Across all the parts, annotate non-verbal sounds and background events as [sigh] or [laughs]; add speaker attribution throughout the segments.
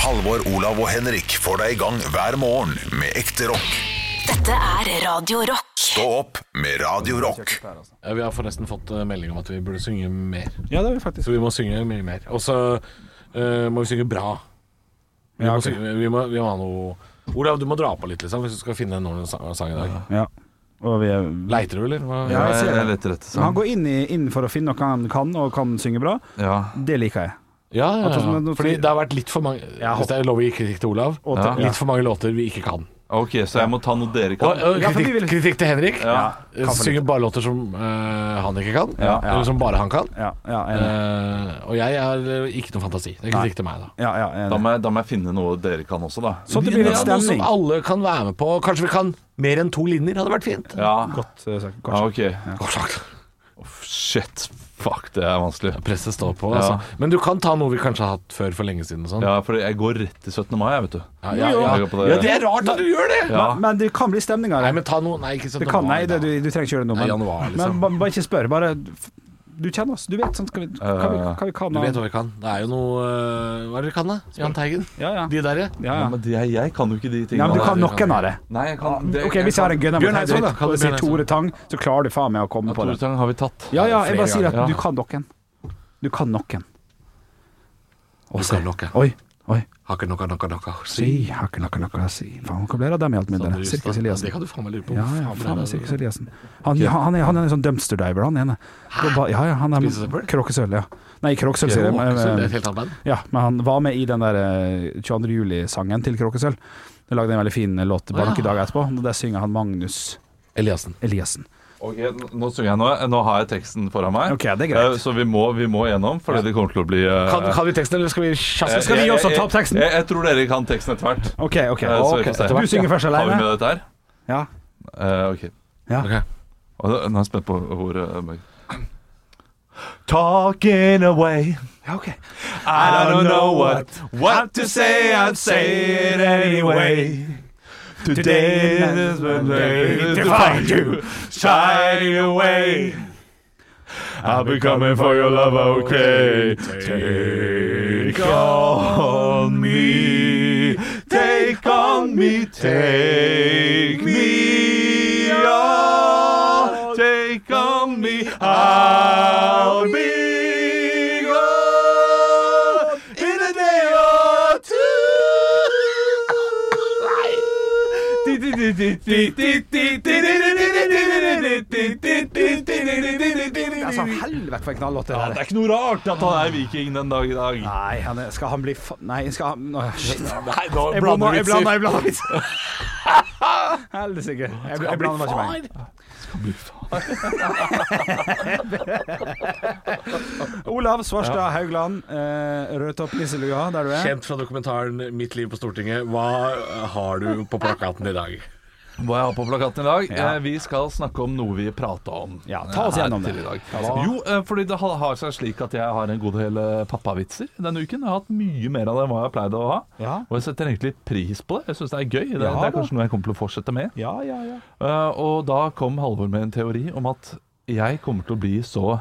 Speaker 1: Halvor, Olav og Henrik får deg i gang hver morgen med ekte rock.
Speaker 2: Dette er Radio Rock.
Speaker 1: Stå opp med Radio Rock.
Speaker 3: Ja, Vi har forresten fått eh, melding om at vi burde synge mer.
Speaker 4: Ja, det har vi faktisk.
Speaker 3: Så vi må synge mye mer. Og så eh, må vi synge bra. Vi,
Speaker 4: Ja,
Speaker 3: må
Speaker 4: ok.
Speaker 3: synge, vi, må, vi må ha noe Olav, du må dra på litt liksom, hvis du skal finne en ordentlig sa- sang i dag.
Speaker 4: Ja. Og vi er
Speaker 3: Leiter du, eller? Hva?
Speaker 4: Ja, jeg ser det.
Speaker 5: jeg leter etter
Speaker 4: Han
Speaker 5: sang.
Speaker 4: går inn, i, inn for å finne noe han kan, og kan synge bra.
Speaker 5: Ja.
Speaker 4: Det liker jeg.
Speaker 3: ja, ja,
Speaker 4: At
Speaker 3: ja.
Speaker 4: det- nå-
Speaker 3: Fordi det har vært litt for mange Hvis det er lov å gi kritikk til Olav,
Speaker 4: Og
Speaker 5: Ja.
Speaker 4: til-
Speaker 3: litt for mange låter vi ikke kan.
Speaker 5: Ok, så jeg må ta noe dere
Speaker 3: Og,
Speaker 5: kan.
Speaker 3: og
Speaker 4: Ja, for vi
Speaker 3: kritikk,
Speaker 4: vil-
Speaker 3: kritikk til Henrik.
Speaker 5: Ja.
Speaker 3: Eh,
Speaker 4: for
Speaker 3: Synger bare låter som eh, han ikke kan,
Speaker 4: Ja, ja.
Speaker 3: eller som bare han kan.
Speaker 4: Ja, ja, enig.
Speaker 3: Eh, og jeg har eh, ikke noe fantasi. Det er kritikk til meg, da.
Speaker 4: Ja, ja,
Speaker 5: Da
Speaker 4: enig.
Speaker 5: må, jeg, da må jeg finne noe dere kan også, da.
Speaker 4: Sånn at det blir litt
Speaker 3: Ja, noe som
Speaker 4: stemning.
Speaker 3: alle kan være med på. Kanskje vi kan mer enn to linjer? Hadde vært fint.
Speaker 5: Ja,
Speaker 4: Godt eh, sagt.
Speaker 5: ja
Speaker 4: Godt.
Speaker 5: ok.
Speaker 3: Godt sagt.
Speaker 5: Shit. Fuck, det er vanskelig.
Speaker 3: Presset står på.
Speaker 5: Ja.
Speaker 3: Altså. Men du kan ta noe vi kanskje har hatt før for lenge siden. og Sånn.
Speaker 5: Ja, for jeg går rett til 17. mai, jeg, vet du.
Speaker 3: Ja, ja, ja.
Speaker 5: Jeg går på det.
Speaker 3: ja, det er rart at du gjør det!
Speaker 5: Ja.
Speaker 4: Men det kan bli stemning av
Speaker 3: Nei,
Speaker 4: det.
Speaker 3: men ta noe Nei, ikke sånn
Speaker 4: Det kan, nei,
Speaker 3: da.
Speaker 4: det, du, du trenger ikke gjøre det nå.
Speaker 3: Nei,
Speaker 4: Men,
Speaker 3: januar, liksom.
Speaker 4: men ba- bare ikke spør. Bare f- Du kjenner oss. Du vet sånn skal vi, hva vi, hva vi kan.
Speaker 3: Eh, Du
Speaker 4: av-
Speaker 3: vet hva vi kan. Det er jo noe øh, Hva er det vi kan, da? Jahn Teigen?
Speaker 4: Ja, ja.
Speaker 3: De derre?
Speaker 4: ja,
Speaker 5: Ja,
Speaker 4: ja.
Speaker 5: men det, jeg, jeg kan jo ikke de
Speaker 4: Nei,
Speaker 5: tingene.
Speaker 4: men du
Speaker 5: der.
Speaker 4: kan noen av det.
Speaker 5: Nei, jeg kan det,
Speaker 4: Ok, Hvis jeg har en gunner mot
Speaker 3: Bjørn Eidsvåg,
Speaker 4: Henrik
Speaker 3: da. Kan
Speaker 4: og
Speaker 3: du
Speaker 4: sier
Speaker 3: Bjørn Eidsvåg?
Speaker 4: Tore Tang, så klarer du faen meg å komme på
Speaker 5: Tore
Speaker 4: det.
Speaker 5: Tang har vi tatt.
Speaker 4: Ja, ja,
Speaker 3: Flere
Speaker 4: jeg bare sier at
Speaker 5: ganger.
Speaker 4: du
Speaker 5: Ja.
Speaker 4: kan noen. Du kan noen.
Speaker 3: Du kan noe.
Speaker 4: Oi, oi.
Speaker 3: Hakka nokka nokka nokka.
Speaker 4: Si, hakke, nakke, nakke, si. Faen, hva ble det av dem i alt mindre?
Speaker 3: Sander Justad.
Speaker 4: Sirkus
Speaker 3: Ja,
Speaker 4: Eliassen.
Speaker 3: Det kan Sånn, du faen meg lure på.
Speaker 4: Ja, ja, faen, det er Sirkus Eliassen. Han, ja, han, er, han er en sånn dumpster diver, han ene. Det var- Ja, ja, han er
Speaker 3: Spisesøppel?
Speaker 4: kråkesølv, ja. Nei, kråkesølv, sier jeg.
Speaker 3: Kråkesølv,
Speaker 4: men-
Speaker 3: det er et helt annet band.
Speaker 4: Ja, men han var med i den der eh, 22. juli-sangen til Kråkesølv. De lagde en veldig fin eh, låt bare noen dager etterpå. og Der synger han Magnus
Speaker 3: Eliassen.
Speaker 4: Eliassen.
Speaker 5: Ok, nå synger jeg nå. Nå har jeg teksten foran meg.
Speaker 4: Ok, det er greit.
Speaker 5: Eh, Så vi må, vi må gjennom, fordi det kommer til å bli eh,
Speaker 3: Kan, kan vi teksten, eller skal vi
Speaker 5: eh,
Speaker 3: tjasse?
Speaker 4: skal vi
Speaker 5: jeg-
Speaker 4: også
Speaker 5: jeg-
Speaker 4: ta opp teksten?
Speaker 5: Jeg, jeg tror dere kan teksten etter hvert.
Speaker 4: OK, OK.
Speaker 5: Eh, så vi får se.
Speaker 4: Du synger først
Speaker 5: Har vi
Speaker 4: alene.
Speaker 5: med dette her?
Speaker 4: Ja.
Speaker 5: Eh, ok.
Speaker 4: Ja.
Speaker 3: Ok.
Speaker 5: Og da- Nå er jeg spent på hvor uh, Talking away
Speaker 4: ja, ok.
Speaker 5: I don't know what What to say, I'd say it anyway Today is the day to find you Shining away I'll be coming for your love, okay Take on me Take on me, take me on Take on me, I'll be gone In a day or
Speaker 4: Altså,
Speaker 5: two
Speaker 4: helvete for en knallåt det
Speaker 5: ja,
Speaker 4: der
Speaker 5: det
Speaker 4: er.
Speaker 5: er ikke noe rart at han er viking den dag i dag.
Speaker 4: Nei, han er, skal han bli fa... Nei, skal han Åh, Shit.
Speaker 5: Nei, nå
Speaker 4: Jeg blanda, jeg blanda, jeg blanda vitser.
Speaker 5: [laughs]
Speaker 4: Helsike. Jeg, jeg blanda meg ikke med. Olav Svarstad Haugland, eh, Rødtopp nisselua, der du er.
Speaker 3: Kjent fra dokumentaren 'Mitt liv på Stortinget'. Hva har du på plakaten i dag?
Speaker 5: Hva jeg har på plakaten i dag? Eh, vi skal snakke om noe vi prata om. eh,
Speaker 4: Ja, ta oss
Speaker 5: her
Speaker 4: gjennom det.
Speaker 5: til i dag. Jo, eh, fordi det har har seg slik at jeg har en god del eh, pappavitser denne uken. Jeg har hatt mye mer av det enn hva jeg pleide å ha.
Speaker 4: Ja.
Speaker 5: Og jeg setter egentlig pris på det. Jeg syns det er gøy. Det,
Speaker 4: Ja,
Speaker 5: det
Speaker 4: da.
Speaker 5: er kanskje noe jeg kommer til å fortsette med.
Speaker 4: Ja, ja, ja.
Speaker 5: Eh, og da kom Halvor med en teori om at jeg kommer til å bli så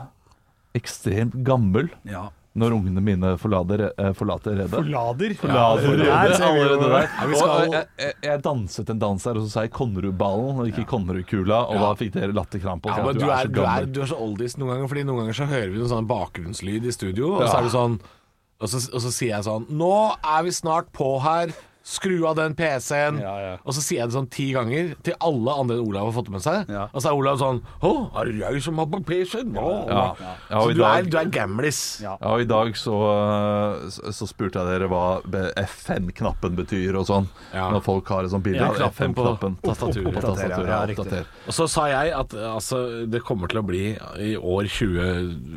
Speaker 5: ekstremt gammel
Speaker 4: ja.
Speaker 5: når ungene mine forlater, eh, forlater redet.
Speaker 4: Lader.
Speaker 5: Lader
Speaker 4: Der ser vi jo-
Speaker 5: allerede der.
Speaker 3: Ja, vi skal-
Speaker 5: Og, og, jeg, jeg, jeg danset en dans her, og så sa jeg Konnerudballen og ikke Konnerudkula. Og da fikk dere latterkrampe. og
Speaker 3: Ja,
Speaker 5: sa at
Speaker 3: men du, er,
Speaker 5: så
Speaker 3: du, er,
Speaker 5: gammel.
Speaker 3: du er så oldies noen ganger, Fordi noen ganger så hører vi noen sånn bakgrunnslyd i studio, og
Speaker 5: Ja.
Speaker 3: så er det sånn og så, og så sier jeg sånn Nå er vi snart på her. Skru av den PC-en.
Speaker 4: Ja, ja.
Speaker 3: Og så sier jeg det sånn ti ganger til alle andre enn Olav har fått det med seg.
Speaker 4: Ja.
Speaker 3: Og så er Olav sånn Å, er det jeg som har på PC-en? Nå?»
Speaker 5: Ja. Ja, og
Speaker 3: Så
Speaker 5: i
Speaker 3: du
Speaker 5: dag-
Speaker 3: er, du er gamlis.
Speaker 4: Ja.
Speaker 5: Ja, og I dag så, eh, så- så spurte jeg dere hva be- F5-knappen betyr og sånn.
Speaker 3: Ja.
Speaker 5: Når folk har et sånt bilde
Speaker 3: Ja,
Speaker 5: av
Speaker 3: knappen på
Speaker 5: F5-knappen.
Speaker 3: tastaturet.
Speaker 5: Opp-
Speaker 4: Oppdater,
Speaker 5: opp-
Speaker 4: ja,
Speaker 5: tastaturet,
Speaker 4: ja,
Speaker 5: ja,
Speaker 4: riktig.
Speaker 5: oppdater.
Speaker 3: Og så sa jeg at altså, det kommer til å bli i år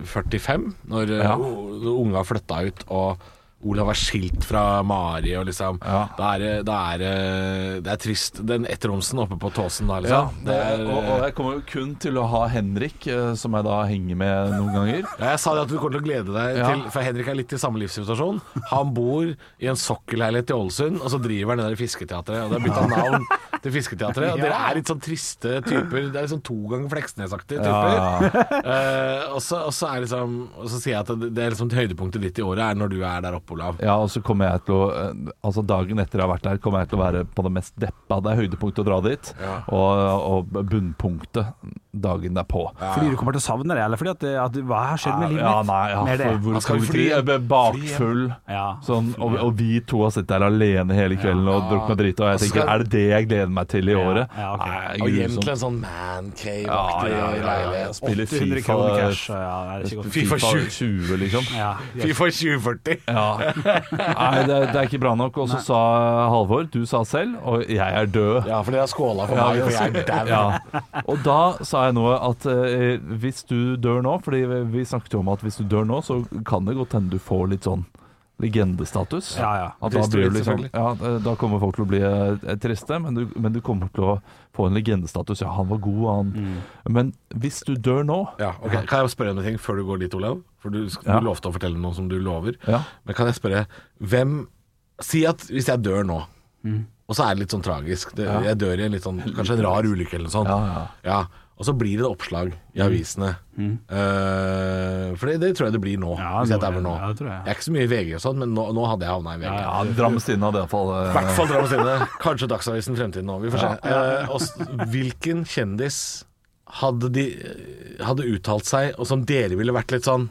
Speaker 3: 2045, når
Speaker 5: Ja.
Speaker 3: ja. unga har flytta ut og Olav er skilt fra Mari og liksom
Speaker 5: Ja.
Speaker 3: da er, det- da er, det- det er trist. Den ettromsen oppe på tåsen da,
Speaker 5: Ja,
Speaker 3: liksom.
Speaker 5: det
Speaker 3: det
Speaker 5: er,
Speaker 3: er,
Speaker 5: og, og jeg kommer jo kun til å ha Henrik, eh, som jeg da henger med noen ganger.
Speaker 3: ja, jeg sa det at du kommer til å glede deg
Speaker 5: Ja.
Speaker 3: til For Henrik er litt i samme livssituasjon. Han bor i en sokkelleilighet i Ålesund, og så driver han det der fisketeatret. Og det har bytta navn til Fisketeatret. Og dere er litt sånn triste typer. Det er litt sånn to ganger Fleksnes-aktige
Speaker 5: Ja.
Speaker 3: typer. Eh, og, så, og, så er liksom, og så sier jeg at det, det er liksom høydepunktet ditt i året er når du er der oppe, Olav.
Speaker 5: Ja, og så kommer jeg til å eh, Altså Dagen etter jeg har vært der, kommer jeg til å være på det mest deppa. Det er høydepunktet å dra dit,
Speaker 3: Ja.
Speaker 5: og, og bunnpunktet dagen derpå.
Speaker 4: Fordi du kommer til å savne det, eller fordi at, det- at du- hva har skjedd med livet
Speaker 5: Ja,
Speaker 4: mitt?
Speaker 5: nei, ja,
Speaker 4: Mer det.
Speaker 5: for hvor
Speaker 3: Han skal
Speaker 5: skal vi
Speaker 3: fly
Speaker 5: fly?
Speaker 3: hjem.
Speaker 5: Jeg ble Bakfull.
Speaker 4: Ja.
Speaker 5: Sånn, og, og vi to har sittet der alene hele kvelden og drukket drit, og jeg
Speaker 3: skal-
Speaker 5: tenker er det det jeg gleder meg til i året?
Speaker 4: ja, ok.
Speaker 5: Nei,
Speaker 3: Og hjem til
Speaker 5: grusomt.
Speaker 3: en sånn mancave-aktig
Speaker 5: Ja, ja, ja, ja, ja.
Speaker 3: leilighet.
Speaker 4: 800
Speaker 5: Spille FIFA, eh,
Speaker 4: kroner cash, og ja, det er ikke godt.
Speaker 5: FIFA
Speaker 3: FIFA 20.
Speaker 5: 20, liksom.
Speaker 4: Ja,
Speaker 3: Fifa 2040.
Speaker 5: Ja. Nei, det, det er ikke bra nok. Og så sa Halvor, du sa selv, og jeg er død.
Speaker 3: Ja, for dere har skåla for
Speaker 5: Ja,
Speaker 3: meg,
Speaker 5: vi
Speaker 3: for
Speaker 5: har
Speaker 3: jeg er dau.
Speaker 5: Ja. Og da sa jeg noe at eh, hvis du dør nå, fordi vi snakket jo om at hvis du dør nå, så kan det godt hende du får litt sånn legendestatus.
Speaker 4: Ja, ja.
Speaker 5: At da, blir du
Speaker 3: Trist,
Speaker 5: liksom, ja, eh, da kommer folk til å bli eh, triste, men du, men du kommer til å få en legendestatus. Ja, han var god, han. Men hvis du dør nå
Speaker 3: Ja, ok. Kan jeg spørre om en ting før du går dit, Olav? For du, sk-
Speaker 5: Ja.
Speaker 3: du lovte å fortelle noe som du lover.
Speaker 5: Ja.
Speaker 3: Men kan jeg spørre hvem Si at hvis jeg dør nå, og så er det litt sånn tragisk det, Jeg dør i en litt sånn Kanskje en rar ulykke eller noe sånt.
Speaker 5: Ja,
Speaker 3: Ja, og så blir det oppslag i avisene. Eh, for det, det tror jeg det blir nå.
Speaker 4: Ja,
Speaker 3: hvis
Speaker 4: det
Speaker 3: jeg dauer
Speaker 4: tror jeg.
Speaker 3: nå.
Speaker 4: Ja, det tror jeg.
Speaker 3: er ikke så mye i VG og sånn, men nå, nå hadde jeg havna i VG.
Speaker 5: ja Drammes Tidende hadde iallfall
Speaker 3: I hvert fall Drammens Tidende. Kanskje Dagsavisen Fremtiden òg. Vi får se. Eh, og s- hvilken kjendis hadde, de, eh, hadde uttalt seg, og som dere ville vært litt sånn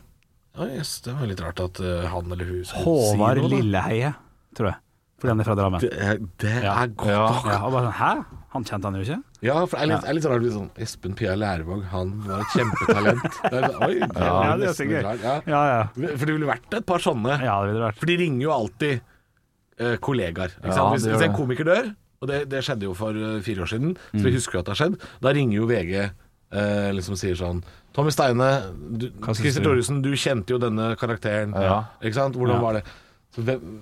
Speaker 3: Oi, jøss, det var litt rart at eh, han eller hun skulle si noe,
Speaker 4: Håvard
Speaker 3: da».
Speaker 4: Lilleheie, tror jeg. Fordi han er fra Drammen.
Speaker 3: Det, er- det er godt. da.
Speaker 4: Ja, og bare sånn, Hæ? Han kjente han jo ikke?
Speaker 3: Ja, for det er litt, det er litt rart. litt Sånn, Espen Pia Lærvåg, han var et kjempetalent. Det er, sånn, oi, det var
Speaker 4: Ja, det er
Speaker 3: nesten
Speaker 4: så gøy.
Speaker 3: litt rart, Ja.
Speaker 4: Ja, ja.
Speaker 3: For det ville vært et par sånne.
Speaker 4: Ja, det ville det vært.
Speaker 3: For de ringer jo alltid eh, kollegaer. Ikke
Speaker 5: Ja,
Speaker 3: sant?
Speaker 5: det
Speaker 3: Hvis, hvis
Speaker 5: gjør
Speaker 3: en
Speaker 5: det. Mm.
Speaker 3: komiker dør, og det, det skjedde jo for eh, fire år siden, så vi husker jo at det har skjedd, da ringer jo VG eh, liksom sier sånn Tommy Steine, du,
Speaker 4: synes
Speaker 3: Christer
Speaker 4: du?
Speaker 3: Thoresen, du kjente jo denne karakteren.
Speaker 5: Ja.
Speaker 3: Ikke sant? Hvordan var det? Så hvem,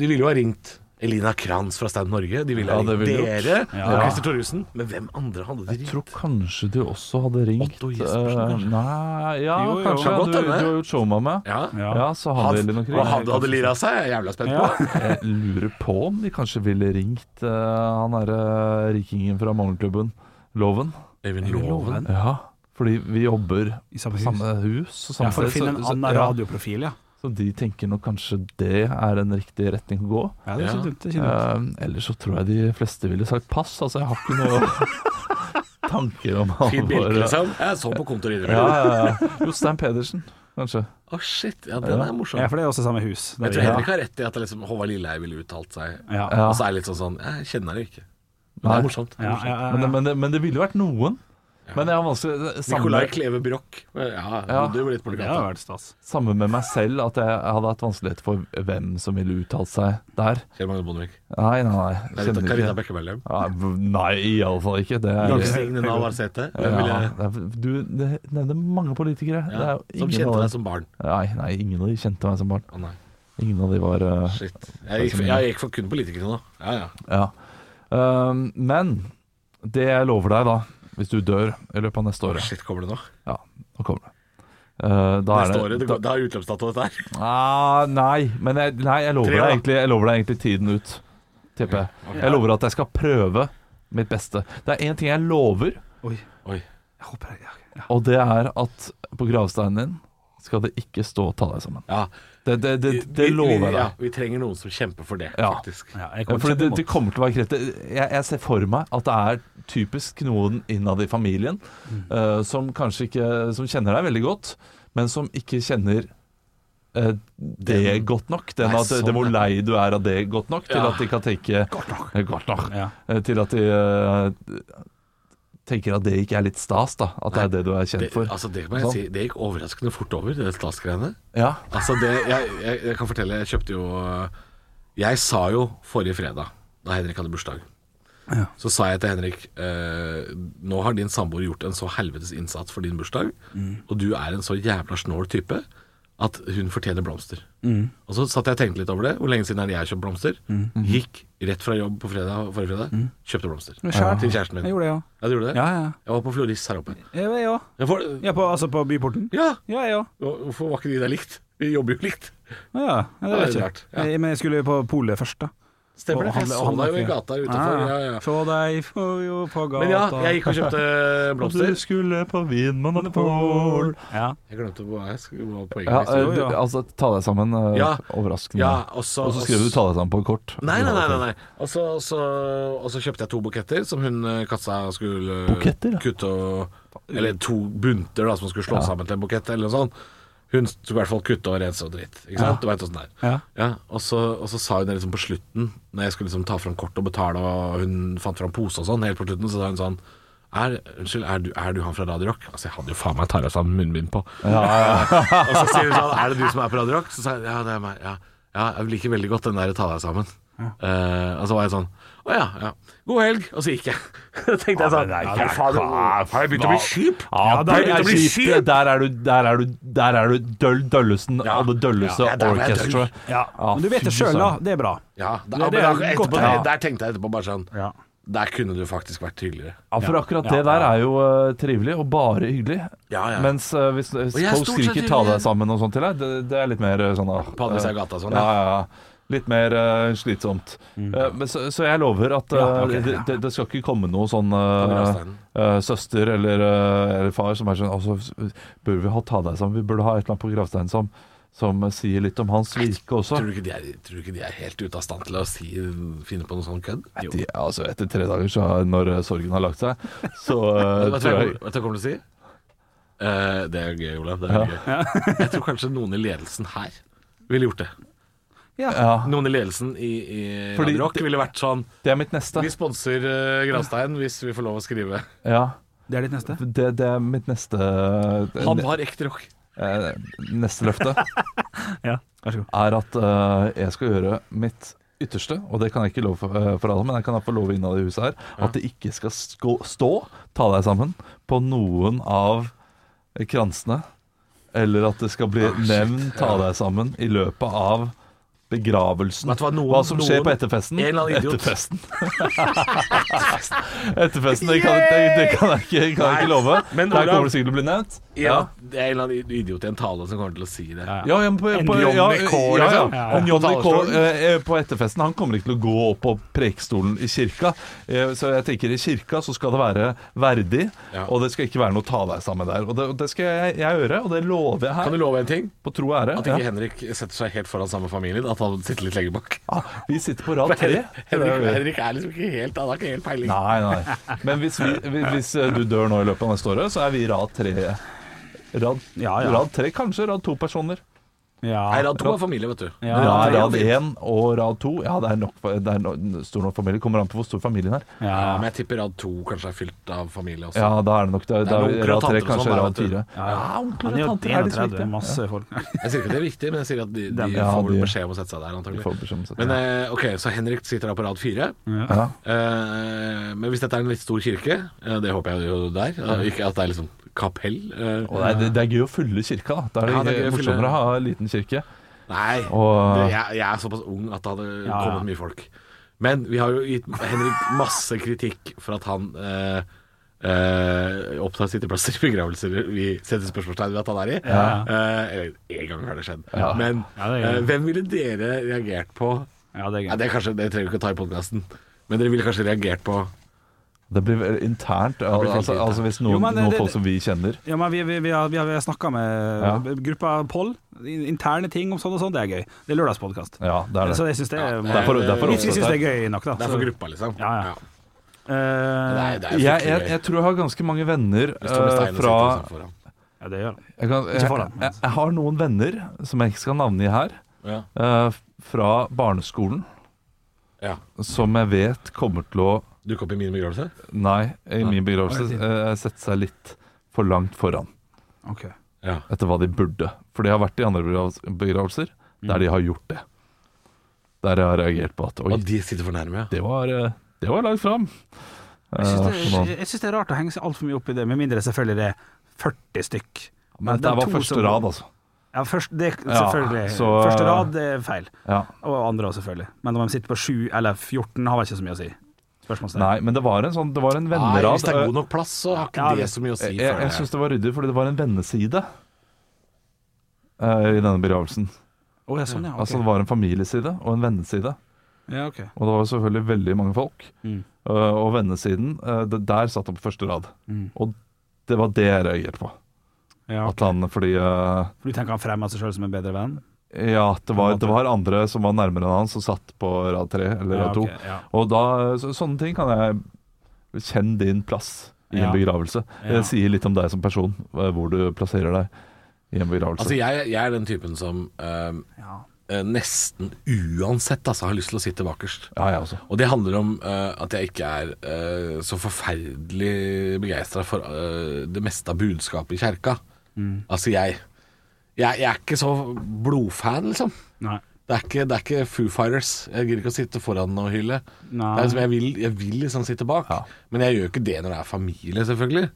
Speaker 3: de ville jo ha ringt Elina Kranz fra Stand Norge. De ville ha
Speaker 5: Ja, det
Speaker 3: ringt
Speaker 5: ville de
Speaker 3: dere og
Speaker 4: Ja.
Speaker 3: Christer Thoresen. Men hvem andre hadde de
Speaker 5: Jeg
Speaker 3: ringt?
Speaker 5: tror kanskje de også hadde ringt
Speaker 3: Otto Jespersen,
Speaker 5: eh,
Speaker 3: kanskje?
Speaker 5: Nei, ja,
Speaker 4: Jo, jo.
Speaker 5: kanskje.
Speaker 4: Kan
Speaker 3: godt
Speaker 5: du, du
Speaker 3: hende.
Speaker 5: har gjort show med meg.
Speaker 3: Ja.
Speaker 4: Ja.
Speaker 5: Ja, så hadde de
Speaker 3: Hadde,
Speaker 5: nok
Speaker 3: og
Speaker 5: ringt.
Speaker 3: hadde, hadde lira seg? Jeg er jævla spent
Speaker 4: Ja.
Speaker 3: på.
Speaker 5: Jeg lurer på om de kanskje ville ringt eh, han derre eh, rikingen fra morgenklubben, Loven.
Speaker 3: Øyvind
Speaker 4: Loven.
Speaker 5: Ja, fordi vi jobber
Speaker 4: I samme hus.
Speaker 5: samme hus. og
Speaker 4: Ja,
Speaker 5: samme
Speaker 4: for å
Speaker 5: sted,
Speaker 4: finne en
Speaker 5: så- så-
Speaker 4: annen
Speaker 5: ja,
Speaker 4: radioprofil, ja.
Speaker 5: Så de tenker nok kanskje det er en riktig retning å gå.
Speaker 4: ja det er
Speaker 3: Ja.
Speaker 4: ikke dumt. Det er ikke dumt.
Speaker 5: Uh, ellers så tror jeg de fleste ville sagt pass. Altså, jeg har ikke noe
Speaker 4: [laughs]
Speaker 5: tanker om
Speaker 3: Fint
Speaker 5: alvor.
Speaker 3: bilde, liksom. Jeg så på kontoret ditt.
Speaker 5: Ja, ja, [laughs] ja. Jostein Pedersen, kanskje.
Speaker 3: Å, shit. Ja, den er morsom.
Speaker 4: Ja, for det er også samme hus.
Speaker 3: Jeg
Speaker 4: Det er
Speaker 3: tror
Speaker 4: det.
Speaker 3: Henrik har rett i at det liksom, Håvard Lilleheie ville uttalt seg.
Speaker 4: Ja.
Speaker 5: Ja.
Speaker 3: Og så er det litt sånn sånn Jeg kjenner det ikke. Men det
Speaker 5: Nei.
Speaker 3: er morsomt. Det er
Speaker 4: Ja,
Speaker 3: morsomt.
Speaker 4: ja, ja,
Speaker 5: Men,
Speaker 4: ja.
Speaker 5: men, men det ville jo vært noen. Men jeg har vanskelig
Speaker 3: Nicolai
Speaker 5: samme,
Speaker 3: Kleve Broch. Ja,
Speaker 5: Ja.
Speaker 3: det blir litt på
Speaker 4: Det
Speaker 3: gata.
Speaker 4: hadde vært stas.
Speaker 5: samme med meg selv at jeg hadde hatt vanskeligheter for hvem som ville uttalt seg der.
Speaker 3: Kjell Magne Bondevik.
Speaker 5: Nei, nei, nei.
Speaker 3: Karita,
Speaker 5: Kjenner
Speaker 3: Karita
Speaker 5: ikke.
Speaker 3: Bekkemellem.
Speaker 5: Ja, v- Nei, iallfall ikke. Det er
Speaker 3: Signe Navarsete. Hvem ville
Speaker 5: ja, det er- Du det nevner mange politikere. Det
Speaker 3: ja,
Speaker 5: er jo
Speaker 3: Som
Speaker 5: ingen
Speaker 3: kjente
Speaker 5: av
Speaker 3: deg
Speaker 5: dem-
Speaker 3: som barn.
Speaker 5: Nei, nei, ingen av de kjente meg som barn.
Speaker 3: Å nei,
Speaker 5: Ingen av de var eh,
Speaker 3: shit. Jeg gikk, for- jeg gikk for kun politikere nå. Ja, ja.
Speaker 5: Ja. Ehm, men det jeg lover deg, da, hvis du dør i løpet av neste året
Speaker 3: Shit, kommer det nå?
Speaker 5: Ja, nå kommer det. Eh, da
Speaker 3: Neste
Speaker 5: er
Speaker 3: året?
Speaker 5: det,
Speaker 3: Det, går- det har utløpsdato, dette her.
Speaker 5: Ah, nei, men jeg, nei, jeg, lover
Speaker 3: Tre,
Speaker 5: deg
Speaker 3: da.
Speaker 5: egentlig, jeg lover deg egentlig tiden ut. Tipper jeg. Jeg lover at jeg skal prøve mitt beste. Det er én ting jeg lover,
Speaker 4: Oi.
Speaker 3: Oi.
Speaker 4: Jeg håper jeg, ja, ja.
Speaker 5: og det er at på gravsteinen din skal det ikke stå 'ta deg sammen'.
Speaker 3: Ja.
Speaker 5: Det, det, det,
Speaker 3: Vi-
Speaker 5: det
Speaker 3: vi-
Speaker 5: lover jeg
Speaker 3: Ja,
Speaker 5: deg.
Speaker 3: vi trenger noen som kjemper for det,
Speaker 5: Ja.
Speaker 3: faktisk.
Speaker 4: Ja, jeg kommer
Speaker 5: Fordi det,
Speaker 4: til å
Speaker 5: det
Speaker 4: kjempe
Speaker 5: kommer til å være kreft. Jeg, jeg ser for meg at det er typisk noen innad i familien eh, som kanskje ikke Som kjenner deg veldig godt, men som ikke kjenner eh, det godt nok. Den
Speaker 3: Nei,
Speaker 5: at,
Speaker 3: sånn,
Speaker 5: det hvor
Speaker 3: ja.
Speaker 5: lei du er av det godt nok, til
Speaker 3: Ja.
Speaker 5: at de kan tenke Godt nok.
Speaker 4: Ja.
Speaker 5: Eh, Til at de eh, tenker at det ikke er litt stas, da. At det er det du er kjent
Speaker 3: Det,
Speaker 5: for.
Speaker 3: altså, det, må jeg
Speaker 5: Sånn.
Speaker 3: si, det gikk overraskende fort over, det statsgreiene.
Speaker 5: Ja.
Speaker 3: Altså det, jeg, jeg, jeg kan fortelle, jeg kjøpte jo Jeg sa jo forrige fredag, da Henrik hadde bursdag,
Speaker 4: Ja.
Speaker 3: så sa jeg til Henrik eh, Nå har din samboer gjort en så helvetes innsats for din bursdag,
Speaker 4: Mm.
Speaker 3: og du er en så jævla snål type at hun fortjener blomster.
Speaker 4: Mm.
Speaker 3: Og så satt jeg og tenkte litt over det. Hvor lenge siden er det jeg har kjøpt blomster? Gikk rett fra jobb på fredag, forrige fredag, kjøpte blomster.
Speaker 4: Mm. Men skjær.
Speaker 3: Til kjæresten min.
Speaker 4: Jeg gjorde det, ja.
Speaker 3: Ja, du gjorde det?
Speaker 4: Ja, ja.
Speaker 3: Jeg var på Floris her oppe.
Speaker 4: Jeg jeg òg.
Speaker 3: Jeg får-
Speaker 4: Ja, på, altså på Byporten?
Speaker 3: ja!
Speaker 4: Ja, jeg òg.
Speaker 3: Hvorfor var ikke de der likt? Vi jobber jo likt.
Speaker 4: Ja, ja, det
Speaker 3: Ja,
Speaker 4: vet
Speaker 3: det er
Speaker 4: jeg.
Speaker 3: rart, ja.
Speaker 4: Jeg- Men jeg skulle på polet først, da.
Speaker 3: Stemmer det.
Speaker 4: Og
Speaker 3: Jeg
Speaker 4: handle- og
Speaker 3: så deg jo
Speaker 4: handle-
Speaker 3: i gata utenfor. Ja, ja.
Speaker 4: Få deg for jo på gata
Speaker 3: Men ja, jeg gikk og kjøpte
Speaker 5: Og du
Speaker 3: blomster.
Speaker 5: skulle på Vinmonopol
Speaker 4: Ja.
Speaker 3: Jeg glemte hva jeg skulle hva
Speaker 5: Ja,
Speaker 3: poenget
Speaker 5: eh,
Speaker 3: mitt
Speaker 5: du,
Speaker 4: ja.
Speaker 5: altså ta deg sammen. eh,
Speaker 3: Ja.
Speaker 5: Overraskende.
Speaker 3: Ja, og så
Speaker 5: Og så skrev du 'ta deg sammen' på et kort.
Speaker 3: Nei, nei, nei. nei, nei. Og, så, og så, og så kjøpte jeg to buketter som hun eh, kassa skulle eh,
Speaker 5: Buketter, ja.
Speaker 3: kutte og Eller to bunter da, som hun skulle slå sammen til en bukett eller noe sånt. Hun skulle i hvert fall kutte og rense og dritt. Ikke sant? Du vet åssen det er.
Speaker 4: Ja.
Speaker 3: og, så, og så sa hun det liksom på slutten, når jeg skulle liksom ta fram kort og betale, og hun fant fram pose og sånn, helt på slutten, så sa hun sånn er, unnskyld, er du, er du han fra Radio Rock? Altså, jeg hadde jo faen meg Tarjei sammen munnbind på. og så sier hun sånn, er det du som er på Radio Rock? Så sa jeg, ja, det er meg. Ja, ja jeg liker veldig godt den der ta deg sammen. Eh, og så var jeg sånn, å ja, ja. God helg. Og så gikk jeg. [laughs] Så tenkte jeg sånn, ja, men faen, har jeg begynt å bli kjip?
Speaker 5: Ja,
Speaker 3: det er
Speaker 5: det
Speaker 3: begynt
Speaker 5: er
Speaker 3: å bli
Speaker 5: kjipt.
Speaker 3: kjipt.
Speaker 5: Der er du, der er du, der er du døll, døllesten
Speaker 3: Ja.
Speaker 5: av det dølleste
Speaker 3: Ja, der var jeg
Speaker 5: orchestra.
Speaker 4: Ja. Men du vet det
Speaker 5: fy
Speaker 4: sjøl, da.
Speaker 5: søren.
Speaker 4: Det er bra.
Speaker 3: Ja, da,
Speaker 4: Det- det
Speaker 3: men
Speaker 4: er
Speaker 3: da,
Speaker 4: godt,
Speaker 3: etterpå,
Speaker 4: ja.
Speaker 3: der tenkte jeg etterpå bare sånn,
Speaker 4: Ja.
Speaker 3: der kunne du faktisk vært tydeligere.
Speaker 5: Ja, for akkurat
Speaker 4: Ja,
Speaker 5: det der
Speaker 4: ja.
Speaker 5: er jo eh, trivelig, og bare hyggelig.
Speaker 3: Ja, ja.
Speaker 5: Mens eh, hvis, hvis
Speaker 3: Og jeg er
Speaker 5: folk
Speaker 3: stort sett
Speaker 5: skriker 'ta
Speaker 3: hyggelig.
Speaker 5: deg sammen' og sånt til deg, det, det er litt mer eh, sånn ah,
Speaker 3: På andre siden av
Speaker 5: eh,
Speaker 3: gata og sånn,
Speaker 5: ja.
Speaker 3: ja. Mm.
Speaker 5: Ja, Litt mer eh, slitsomt. Eh, men, så, så jeg lover at eh,
Speaker 4: Ja, ok, ja.
Speaker 5: det- det, det skal ikke komme noe sånn
Speaker 3: Ta med
Speaker 5: eh,
Speaker 3: rasteinen.
Speaker 5: eh, søster eller, eh, eller far som er sånn altså, Bør vi ha 'ta deg sammen'? Vi burde ha et eller annet på gravsteinen som, som eh, sier litt om hans virke også.
Speaker 3: Tror du, ikke de er, tror du ikke de er helt ute av stand til å si, finne på noe sånn kødd? Jo.
Speaker 5: De, altså Etter tre dager, så har- når eh, sorgen har lagt seg, så
Speaker 3: [laughs]
Speaker 5: eh,
Speaker 3: Vet du hva
Speaker 5: tror
Speaker 3: jeg
Speaker 5: jeg
Speaker 3: kommer- vet du hva jeg kommer til å si? Eh, det er gøy, Olav. Det er gøy. Jeg tror kanskje noen i ledelsen her ville gjort det.
Speaker 5: ja,
Speaker 3: Noen i ledelsen i, i
Speaker 5: Fordi
Speaker 3: Radio Rock
Speaker 5: det-
Speaker 3: ville vært sånn
Speaker 5: Det er mitt neste.
Speaker 3: Vi sponser eh, Gravstein hvis vi får lov å skrive.
Speaker 5: Ja,
Speaker 4: Det er ditt neste.
Speaker 5: det, det er mitt neste
Speaker 3: Han var ekte rock.
Speaker 5: eh, Neste løfte
Speaker 4: [laughs] Ja, vær så god.
Speaker 5: er at eh, jeg skal gjøre mitt ytterste, og det kan jeg ikke love for, eh, for alle, men jeg kan få love innad i huset her, at det ikke skal skå, stå, ta deg sammen, på noen av kransene, eller at det skal bli
Speaker 3: Ah,
Speaker 5: nevnt, ta deg sammen, i løpet av begravelsen.
Speaker 3: Vet du hva, noen-
Speaker 5: som skjer
Speaker 3: noen-
Speaker 5: på etterfesten?
Speaker 3: en eller annen idiot.
Speaker 5: Etterfesten. [laughs] etterfesten, det kan, det, det kan jeg ikke, kan jeg ikke love.
Speaker 3: Men
Speaker 5: Der
Speaker 3: Olav-
Speaker 5: kommer det sikkert til å bli nevnt.
Speaker 3: Ja, det er en eller annen idiot i en tale som kommer til å si det.
Speaker 5: Ja, ja, men på, på,
Speaker 3: Johnny
Speaker 5: ja,
Speaker 3: K,
Speaker 5: ja,
Speaker 3: liksom?
Speaker 5: ja.
Speaker 3: Ja.
Speaker 5: En Johnny K
Speaker 3: Talerstolen.
Speaker 5: eh, på etterfesten Han kommer ikke til å gå opp på prekestolen i kirka. Eh, Så jeg tenker i kirka så skal det være verdig,
Speaker 3: Ja.
Speaker 5: og det skal ikke være noe ta deg sammen der. Og det, og det skal jeg, jeg gjøre, og det lover jeg
Speaker 3: Kan
Speaker 5: her.
Speaker 3: du love en ting?
Speaker 5: På tro og ære.
Speaker 3: At ikke Henrik setter seg helt foran samme familie? At han sitter litt lenger bak?
Speaker 5: Ja. Ah, Vi sitter på rad tre.
Speaker 3: [laughs] Henrik, Henrik er liksom ikke helt Han har ikke helt peiling.
Speaker 5: Nei, nei. Men hvis, vi, vi- hvis eh, du dør nå i løpet av neste året, så er vi rad tre. Rad,
Speaker 4: Ja, ja.
Speaker 5: rad tre, kanskje. Rad to personer.
Speaker 3: Nei,
Speaker 4: Ja.
Speaker 3: rad to er familie, vet du.
Speaker 5: Ja,
Speaker 4: Ja,
Speaker 5: rad én og rad to. Ja, det er nok det er no, stor nok familie. Kommer an på hvor stor familien er.
Speaker 3: Ja,
Speaker 4: Ja.
Speaker 3: men jeg tipper rad to kanskje er fylt av familie også.
Speaker 5: Ja, da er det nok det.
Speaker 3: Det
Speaker 5: Da
Speaker 3: er noen
Speaker 5: er
Speaker 3: onkler og
Speaker 5: rad tre,
Speaker 3: tanter og
Speaker 5: kanskje
Speaker 3: sånn,
Speaker 5: rad
Speaker 3: vet du.
Speaker 5: fire. Ja,
Speaker 4: Han
Speaker 5: onkler
Speaker 4: er jo
Speaker 5: og tanter er det så
Speaker 4: 31,
Speaker 5: viktig.
Speaker 4: masse folk.
Speaker 3: Jeg sier ikke at det er viktig, men jeg sier at de, de
Speaker 4: Dem-
Speaker 5: Ja,
Speaker 3: får vel
Speaker 5: de-
Speaker 3: beskjed om å sette seg der,
Speaker 5: De får
Speaker 3: antagelig.
Speaker 5: beskjed om å sette
Speaker 3: Men
Speaker 5: seg
Speaker 3: eh, ok, så Henrik sitter da på rad fire.
Speaker 5: Ja.
Speaker 3: Eh, men hvis dette er en litt stor kirke, eh, det håper jeg jo det er, eh, ikke at det er liksom kapell eh,
Speaker 5: Og det, er, det er gøy å fylle kirka, da. Da er det,
Speaker 3: Ja, det er gøy å fylle-
Speaker 5: morsommere å ha en liten kirke.
Speaker 3: Nei,
Speaker 5: Og-
Speaker 3: det, jeg, jeg er såpass ung at det hadde
Speaker 4: Ja, ja.
Speaker 3: kommet mye folk. Men vi har jo gitt Henrik masse kritikk for at han eh, eh, opptar sitteplasser i begravelser vi setter spørsmålstegn ved at han er i.
Speaker 4: Ja.
Speaker 3: Eh, Eller én gang har det skjedd.
Speaker 5: Ja.
Speaker 3: Men
Speaker 4: Ja, det er
Speaker 3: eh,
Speaker 4: gøy.
Speaker 3: hvem ville dere reagert på
Speaker 4: Ja, det er
Speaker 3: ja,
Speaker 4: gøy.
Speaker 3: det, er kanskje, det trenger vi ikke å ta i podkasten, men dere ville kanskje reagert på
Speaker 5: Det blir vel internt. al-
Speaker 3: blir veldig
Speaker 5: altså, altså hvis noen,
Speaker 4: Jo, men det-
Speaker 5: noen
Speaker 4: det-
Speaker 5: folk som vi kjenner
Speaker 4: Ja, men vi, vi, vi har, vi har, vi har snakka med
Speaker 5: Ja.
Speaker 4: gruppa Poll. Interne ting om sånn og sånn. Det er gøy. Det er lørdagspodkast.
Speaker 5: Ja, det er
Speaker 4: Så
Speaker 5: det.
Speaker 4: jeg syns det er eh,
Speaker 3: Ja, derfor- derfor
Speaker 4: Vi
Speaker 3: også-
Speaker 4: syns det er gøy nok, da.
Speaker 3: Det er for gruppa, liksom.
Speaker 4: Ja, ja.
Speaker 3: Ja.
Speaker 4: Eh,
Speaker 3: Nei, det er jo
Speaker 5: Jeg, jeg,
Speaker 3: fryktelig gøy.
Speaker 5: jeg tror jeg har ganske mange venner
Speaker 3: Hvis Tommy
Speaker 5: eh,
Speaker 3: Steine sitter
Speaker 5: fra
Speaker 3: sånn foran.
Speaker 4: ja, det gjør det.
Speaker 5: jeg, kan, jeg,
Speaker 4: Ikke foran.
Speaker 5: jeg, jeg har noen venner som jeg ikke skal navngi her,
Speaker 3: Ja.
Speaker 5: eh, fra barneskolen,
Speaker 3: Ja.
Speaker 5: som jeg vet kommer til å
Speaker 3: Dukke opp i min begravelse?
Speaker 5: Nei, i min begravelse
Speaker 4: Hva
Speaker 5: eh, sette seg litt for langt foran
Speaker 4: Ok.
Speaker 3: Ja.
Speaker 5: etter hva de burde. For det har vært i andre begravels- begravelser der de har gjort det. Der jeg har reagert på at Oi,
Speaker 3: Og de sitter for nærme, ja.
Speaker 5: det var, eh, det var langt fram. Eh,
Speaker 4: Jeg syns det,
Speaker 5: for noen.
Speaker 4: jeg- jeg syns det er rart å henge seg altfor mye opp i det, med mindre selvfølgelig det er 40 stykk.
Speaker 5: Men
Speaker 4: de
Speaker 5: dette var
Speaker 4: to
Speaker 5: første
Speaker 4: som-
Speaker 5: rad, altså.
Speaker 4: Ja, først, det,
Speaker 5: Ja,
Speaker 4: selvfølgelig.
Speaker 5: så-
Speaker 4: Første rad det er feil.
Speaker 5: Ja.
Speaker 4: Og andre også, selvfølgelig. Men om de sitter på 7 eller 14, har vel ikke så mye å si. Spørsmålstegn.
Speaker 5: Nei, men det var en sånn Det var en
Speaker 3: Nei,
Speaker 5: vennerad.
Speaker 3: hvis det er god nok plass, så har ikke
Speaker 4: Ja,
Speaker 3: det
Speaker 4: hvis-
Speaker 3: så mye å si.
Speaker 5: Jeg, jeg,
Speaker 3: føler
Speaker 5: jeg syns det var ryddig, fordi det var en venneside eh, i denne begravelsen.
Speaker 4: Å, ja, sånn, ja. ok.
Speaker 5: Altså det Altså, var en familieside og en venneside.
Speaker 4: Ja, ok.
Speaker 5: Og det var jo selvfølgelig veldig mange folk.
Speaker 4: Mm.
Speaker 5: Eh, og vennesiden, eh, det, der satt han på første rad. Og det var det jeg reagerte på.
Speaker 4: Ja,
Speaker 5: At han, fordi eh,
Speaker 4: For du tenker han fremmer seg sjøl som en bedre venn?
Speaker 5: Ja, det var, det var andre som var nærmere enn han, som satt på rad tre eller
Speaker 4: Ja,
Speaker 5: rad to.
Speaker 4: ok, ja.
Speaker 5: Og da, så, sånne ting kan jeg Kjenn din plass i
Speaker 4: Ja.
Speaker 5: en begravelse.
Speaker 4: Ja.
Speaker 5: Det sier litt om deg som person, eh, hvor du plasserer deg i en begravelse.
Speaker 3: Altså, jeg, jeg er den typen som eh,
Speaker 4: Ja.
Speaker 3: eh, nesten uansett altså, har lyst til å sitte bakerst.
Speaker 5: ja, jeg også.
Speaker 3: Og det handler om eh, at jeg ikke er eh, så forferdelig begeistra for eh, det meste av budskapet i kjerka.
Speaker 4: Mm.
Speaker 3: Altså, jeg, jeg Jeg er ikke så blodfan, liksom.
Speaker 4: Nei.
Speaker 3: Det er, ikke, det er ikke Foo Fighters. Jeg gidder ikke å sitte foran og hylle.
Speaker 4: Nei.
Speaker 3: Det er liksom, jeg, vil, jeg vil liksom sitte bak,
Speaker 5: Ja.
Speaker 3: men jeg gjør ikke det når det er familie, selvfølgelig.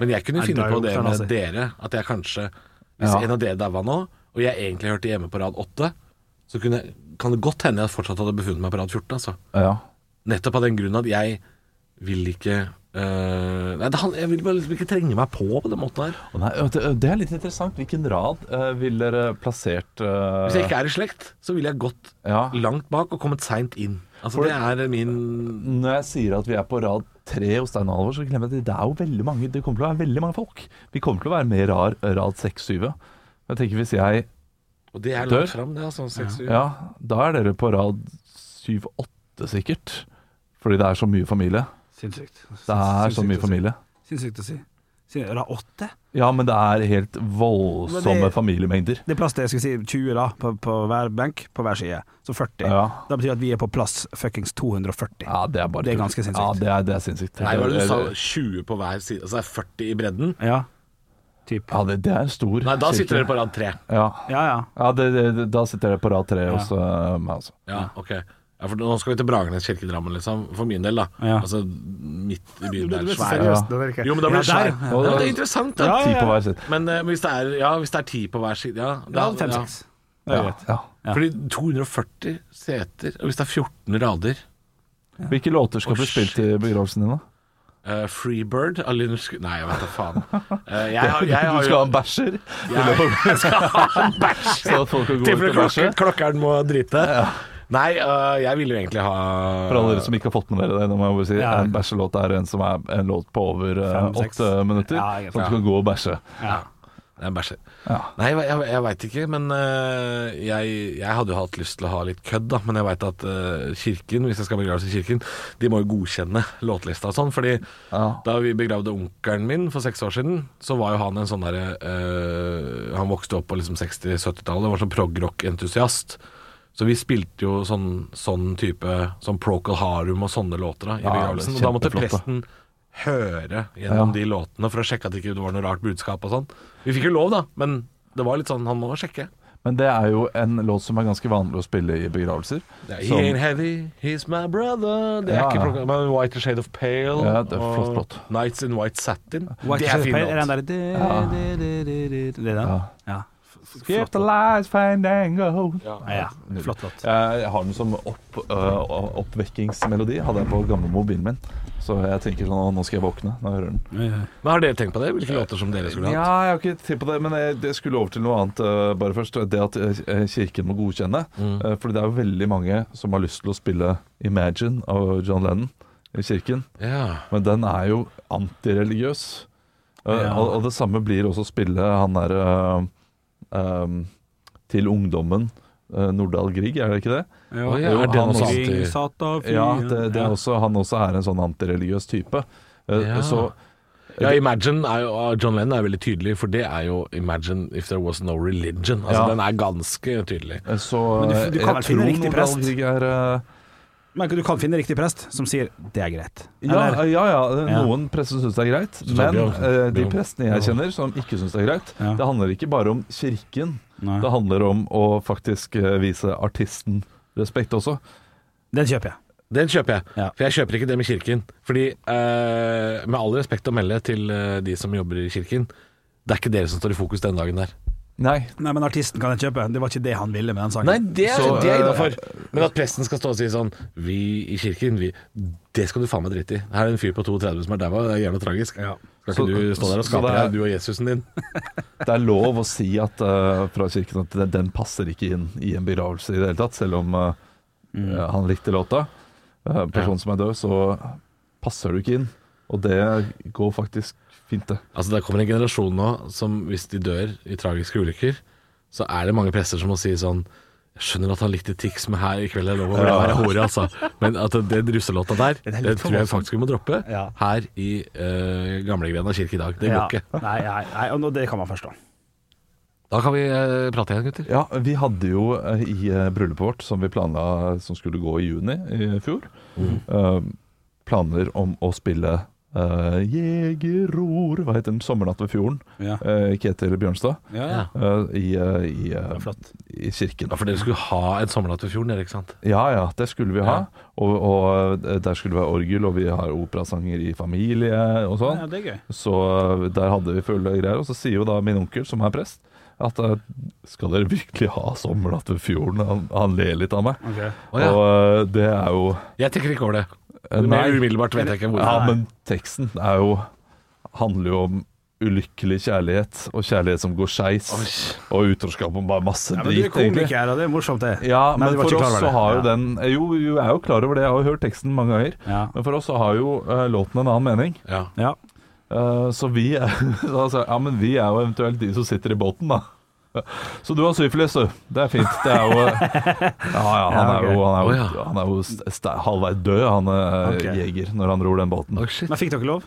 Speaker 3: Men jeg kunne
Speaker 4: Nei,
Speaker 3: finne
Speaker 4: da er
Speaker 3: på
Speaker 4: det
Speaker 3: det
Speaker 4: oppføren,
Speaker 3: med
Speaker 4: altså.
Speaker 3: dere, at jeg kanskje Hvis
Speaker 5: Ja.
Speaker 3: en av dere daua nå, og jeg egentlig hørte hjemme på rad 8, så kunne, kan det godt hende jeg fortsatt hadde befunnet meg på rad 14. Altså.
Speaker 5: Ja.
Speaker 3: Nettopp av den grunn at jeg vil ikke øh, Nei, det, han- jeg vil bare liksom ikke trenge meg på på den måten her.
Speaker 5: Og Nei, det, det er litt interessant. Hvilken rad eh, ville dere plassert eh,
Speaker 3: Hvis jeg ikke er i slekt, så ville jeg gått
Speaker 5: Ja.
Speaker 3: langt bak og kommet seint inn. Altså, det er min
Speaker 5: Når jeg sier at vi er på rad tre hos Stein Halvor, så glemmer jeg at det er jo veldig mange Det kommer til å være veldig mange folk. Vi kommer til å være mer rar rad seks, syv. ja. Jeg tenker hvis jeg
Speaker 3: Og det er
Speaker 5: Dør?
Speaker 3: langt fram, det. Altså, seks uker.
Speaker 5: Ja, da er dere på rad syv, åtte sikkert. Fordi det er så mye familie.
Speaker 4: Sinnssykt.
Speaker 5: Det er så mye familie.
Speaker 4: Sinnssykt å si. Sin- Rad åtte?
Speaker 5: Ja, men det er helt
Speaker 4: Men
Speaker 5: voldsomme
Speaker 4: det-
Speaker 5: familiemengder.
Speaker 4: Det er plass til jeg skal si 20 da, på, på hver benk, på hver side. Så 40.
Speaker 5: Ja.
Speaker 4: Da betyr det at vi er på plass fuckings 240.
Speaker 5: Ja, det er bare
Speaker 4: Det er
Speaker 5: tull.
Speaker 4: ganske sinnssykt.
Speaker 5: Ja, det er, det er sinnssykt.
Speaker 3: Nei, hva var det du sa? 20 på hver side? Altså det er 40 i bredden?
Speaker 4: Ja. Typ.
Speaker 5: Ja, det, det er en stor
Speaker 3: Nei, da
Speaker 5: kirke.
Speaker 3: sitter dere på rad 3.
Speaker 5: Ja,
Speaker 4: Ja, ja.
Speaker 5: ja det, det, det, da sitter dere på rad tre hos eh, meg, altså.
Speaker 3: Ja, ok. Ja, for nå skal vi til Bragernes kirke i Drammen, liksom. For min del, da.
Speaker 4: Ja.
Speaker 3: Altså midt i byen. Det er
Speaker 4: Det er
Speaker 3: svær.
Speaker 4: seriøst,
Speaker 5: Ja.
Speaker 4: det er ikke-
Speaker 3: Jo, men da blir det
Speaker 4: Ja,
Speaker 3: svær.
Speaker 4: der,
Speaker 3: Ja, men det er interessant, da.
Speaker 4: Ja,
Speaker 5: Ti på hver side.
Speaker 3: Men eh, hvis, det er, ja, hvis det er ti på hver side Ja,
Speaker 4: Ja,
Speaker 3: da- ja.
Speaker 4: fem-seks. Det er greit.
Speaker 5: Ja.
Speaker 4: Ja.
Speaker 3: Fordi 240 seter, og hvis det er 14 rader
Speaker 5: Hvilke låter skal
Speaker 3: Å,
Speaker 5: bli spilt i begravelsen din, da?
Speaker 3: eh, Freebird av Lynyrd Skynyrd- Nei, jeg vet da faen. Eh, jeg, har- jeg
Speaker 5: Du
Speaker 3: har
Speaker 5: skal ha
Speaker 3: jo
Speaker 5: en bæsjer?
Speaker 3: [laughs] jeg, jeg skal ha en bæsj!
Speaker 5: [laughs] Så at folk kan gå ut
Speaker 3: Tilfelle
Speaker 5: og bæsje?
Speaker 3: klokken, klokkeren må drite. Nei, øh, jeg ville jo egentlig ha
Speaker 5: For alle dere som ikke har fått med dere det, nå må jeg bare si
Speaker 4: Ja.
Speaker 5: en bæsjelåt er en som er en låt på over eh,
Speaker 4: Fem, seks.
Speaker 5: åtte minutter.
Speaker 4: Ja, egentlig,
Speaker 5: sånn at
Speaker 3: ja.
Speaker 5: du kan gå og bæsje.
Speaker 4: Ja.
Speaker 3: Det er en bæsjer.
Speaker 5: Ja.
Speaker 3: Nei, jeg, jeg, jeg veit ikke, men øh, jeg, jeg hadde jo hatt lyst til å ha litt kødd, da. Men jeg veit at øh, kirken, hvis jeg skal begraves i kirken, de må jo godkjenne låtlista og sånn. Fordi
Speaker 5: Ja.
Speaker 3: da vi begravde onkelen min for seks år siden, så var jo han en sånn derre øh, Han vokste opp på liksom 60-70-tallet, var sånn progrock-entusiast. Så vi spilte jo sånn, sånn type sånn Procol Harum og sånne låter da, i
Speaker 5: Ja,
Speaker 3: begravelsen.
Speaker 5: det
Speaker 3: Og
Speaker 5: er
Speaker 3: da måtte
Speaker 5: kjempeflott, da.
Speaker 3: presten høre gjennom de låtene for å sjekke at det ikke var noe rart budskap og sånn. Vi fikk jo lov, da, men det var litt sånn han må sjekke.
Speaker 5: Men det er jo en låt som er ganske vanlig å spille i begravelser.
Speaker 3: He
Speaker 5: Som-
Speaker 3: ain't heavy, he's my brother Det er
Speaker 5: Ja,
Speaker 3: ikke
Speaker 5: ja.
Speaker 3: Procol men White Shade of Pale
Speaker 5: Ja, det er
Speaker 3: og
Speaker 5: flott låt.
Speaker 3: Nights in White Satin.
Speaker 4: White
Speaker 3: det
Speaker 4: Shade
Speaker 3: er
Speaker 4: of
Speaker 3: fin
Speaker 4: Pale, Er den
Speaker 3: låt.
Speaker 4: der Det er den?
Speaker 5: Ja.
Speaker 4: Ja.
Speaker 5: Skip the lies, fandango.
Speaker 4: Ja, ja. Flott låt.
Speaker 5: Jeg jeg har den som opp, øh, oppvekkingsmelodi. Hadde jeg på gamle mobilen min. Så jeg tenker sånn «Å, Nå skal jeg våkne når jeg hører den.
Speaker 3: Men Har dere tenkt på det? Hvilke låter som dere skulle
Speaker 5: Ja,
Speaker 3: hatt?
Speaker 5: jeg har ikke tid på det, men jeg, jeg skulle over til noe annet øh, bare først. Det at øh, kirken må godkjenne.
Speaker 4: Mm.
Speaker 5: Uh, fordi det er jo veldig mange som har lyst til å spille 'Imagine' av John Lennon i kirken.
Speaker 3: Ja.
Speaker 5: Men den er jo antireligiøs. Uh,
Speaker 4: Ja.
Speaker 5: og, og det samme blir også å spille han der øh, øh, til ungdommen. øh, Nordahl Grieg, er det ikke det?
Speaker 4: Jo,
Speaker 3: Å, ja,
Speaker 5: er det
Speaker 4: han
Speaker 5: noe
Speaker 4: omkring
Speaker 3: annet?
Speaker 4: satt av fly,
Speaker 5: Ja, det, det
Speaker 4: ja.
Speaker 5: er også, han også er en sånn antireligiøs type. Eh,
Speaker 3: Ja.
Speaker 5: Så
Speaker 3: Ja, Imagine er jo, av John Lennon er veldig tydelig, for det er jo 'Imagine if there was no religion'. Altså,
Speaker 5: Ja.
Speaker 3: Den er ganske tydelig.
Speaker 5: eh, så
Speaker 4: Men du- du kan vel
Speaker 5: jeg
Speaker 4: finne
Speaker 5: tror
Speaker 4: riktig
Speaker 5: Nordahl
Speaker 4: prest?
Speaker 5: Grieg er eh,
Speaker 4: Men du kan finne riktig prest som sier 'det er greit'.
Speaker 5: ja,
Speaker 4: Eller-
Speaker 5: ja, ja, eh,
Speaker 4: Ja.
Speaker 5: noen prester syns det er greit.
Speaker 3: det er
Speaker 5: Men
Speaker 3: Bjørn-
Speaker 5: eh, de
Speaker 3: Bjørn-
Speaker 5: prestene jeg kjenner som ikke syns det er greit,
Speaker 4: Ja.
Speaker 5: det handler ikke bare om kirken.
Speaker 4: Nei.
Speaker 5: Det handler om å faktisk eh, vise artisten respekt også.
Speaker 4: Den kjøper jeg.
Speaker 3: Den kjøper jeg.
Speaker 4: Ja.
Speaker 3: For jeg kjøper ikke det med kirken. Fordi, eh, med all respekt å melde til eh, de som jobber i kirken, det er ikke dere som står i fokus den dagen der.
Speaker 5: Nei.
Speaker 4: Nei, men artisten kan jeg kjøpe. Det var ikke det han ville med den sangen.
Speaker 3: Nei, det er,
Speaker 5: Så,
Speaker 3: det er
Speaker 5: eh,
Speaker 3: innafor. Men at presten skal stå og si sånn Vi i kirken, vi Det skal du faen meg drite i. Her er det en fyr på 32 som er daua, det er jævla tragisk. Skal ikke
Speaker 5: Så-
Speaker 3: du stå der og
Speaker 5: så
Speaker 3: skape
Speaker 5: det er-
Speaker 3: deg, du og Jesusen din?
Speaker 5: Det er lov å si at, eh, fra kirken at den, den passer ikke inn i en begravelse i det hele tatt, selv om eh,
Speaker 4: Mm.
Speaker 5: eh, han likte låta. Eh, Personen som er død, så passer du ikke inn. Og det går faktisk fint, det.
Speaker 3: Altså Der kommer en generasjon nå som hvis de dør i tragiske ulykker, så er det mange prester som må si sånn Jeg skjønner at han likte Tix, men her i kveld er det lov å være hore, altså. Men at den russelåta der,
Speaker 4: Den er litt
Speaker 3: det
Speaker 4: for
Speaker 3: tror jeg
Speaker 4: voldsom.
Speaker 3: faktisk vi må droppe
Speaker 4: Ja.
Speaker 3: her i uh, Gamlegrena kirke i dag. Det går
Speaker 4: Ja.
Speaker 3: ikke.
Speaker 4: [laughs] Nei, nei, nei, og nå- det kan man forstå.
Speaker 3: Da kan vi eh, prate igjen, gutter.
Speaker 5: Ja, vi hadde jo eh, i eh, bryllupet vårt, som vi planla som skulle gå i juni i fjor,
Speaker 4: Mm.
Speaker 5: eh, planer om å spille uh, Jegeror Hva heter den? 'Sommernatt ved fjorden'.
Speaker 4: Ja.
Speaker 5: eh, Ketil Bjørnstad.
Speaker 3: Ja.
Speaker 5: eh, I, eh, i, eh,
Speaker 4: flott.
Speaker 5: I kirken.
Speaker 3: Ja, for dere skulle ha en sommernatt ved fjorden, dere, ikke sant?
Speaker 5: Ja ja, det skulle vi ha. Og, og eh, der skulle det være orgel, og vi har operasanger i familie og sånn.
Speaker 4: Ja, det er gøy.
Speaker 5: Så eh, der hadde vi fulle greier. Og så sier jo da min onkel, som er prest, at eh, skal dere virkelig ha sommernatt ved fjorden? Han, han ler litt av meg.
Speaker 4: Ok.
Speaker 3: Å, ja.
Speaker 5: Og eh, det er jo
Speaker 3: Jeg tenker ikke over det.
Speaker 5: Eh,
Speaker 3: Mer
Speaker 5: nei.
Speaker 3: umiddelbart vet jeg ikke
Speaker 5: Ja,
Speaker 3: hvorfor.
Speaker 5: men teksten er jo handler jo om ulykkelig kjærlighet, og kjærlighet som går skeis, og utroskap og bare masse
Speaker 4: Ja, men du
Speaker 5: drit,
Speaker 4: er komiker, og det er morsomt, det.
Speaker 5: Ja, men,
Speaker 4: du var
Speaker 5: for
Speaker 4: ikke klar over
Speaker 5: oss så
Speaker 4: det.
Speaker 5: har jo
Speaker 4: Ja.
Speaker 5: den Jo, jo, jeg er jo klar over det, jeg har jo hørt teksten mange ganger.
Speaker 4: Ja.
Speaker 5: Men for oss så har jo eh, låten en annen mening.
Speaker 3: Ja.
Speaker 4: Ja.
Speaker 5: Eh, så vi er, [laughs] altså, Ja, men vi er jo eventuelt de som sitter i båten, da. [laughs] Så du har syfilis, du. Det er fint. Det er jo eh,
Speaker 4: [laughs]
Speaker 5: Ja ja, han er jo, han er
Speaker 3: Å,
Speaker 5: jo,
Speaker 3: ja.
Speaker 5: han er jo st- st- halvveis død, han eh,
Speaker 4: Ok.
Speaker 5: jeger, når han ror den båten.
Speaker 3: Å, shit.
Speaker 4: Men fikk dere lov?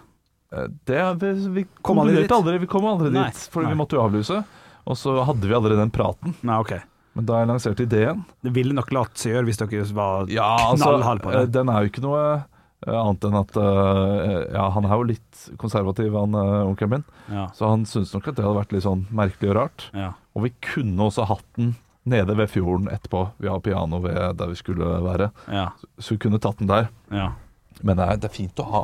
Speaker 5: Eh, Det er, vi, vi
Speaker 4: Kom aldri
Speaker 5: konkluderte
Speaker 4: dit.
Speaker 5: aldri, vi kom aldri
Speaker 4: Nei,
Speaker 5: dit, for
Speaker 4: nei.
Speaker 5: vi måtte jo avlyse. Og så hadde vi allerede den praten,
Speaker 4: Nei, ok.
Speaker 5: men da jeg lanserte ideen
Speaker 4: Det ville nok latt seg gjøre hvis dere var
Speaker 5: Ja, altså,
Speaker 4: knallhard på
Speaker 5: eh,
Speaker 4: det.
Speaker 5: den er jo ikke noe eh, annet enn at eh, Ja, han er jo litt konservativ, han eh, onkelen min,
Speaker 4: Ja.
Speaker 5: så han syntes nok at det hadde vært litt sånn merkelig og rart.
Speaker 4: Ja.
Speaker 5: Og vi kunne også hatt den nede ved fjorden etterpå. Vi har piano ved der vi skulle være,
Speaker 4: Ja.
Speaker 5: så vi kunne tatt den der.
Speaker 4: Ja.
Speaker 5: Men det er, det er fint å ha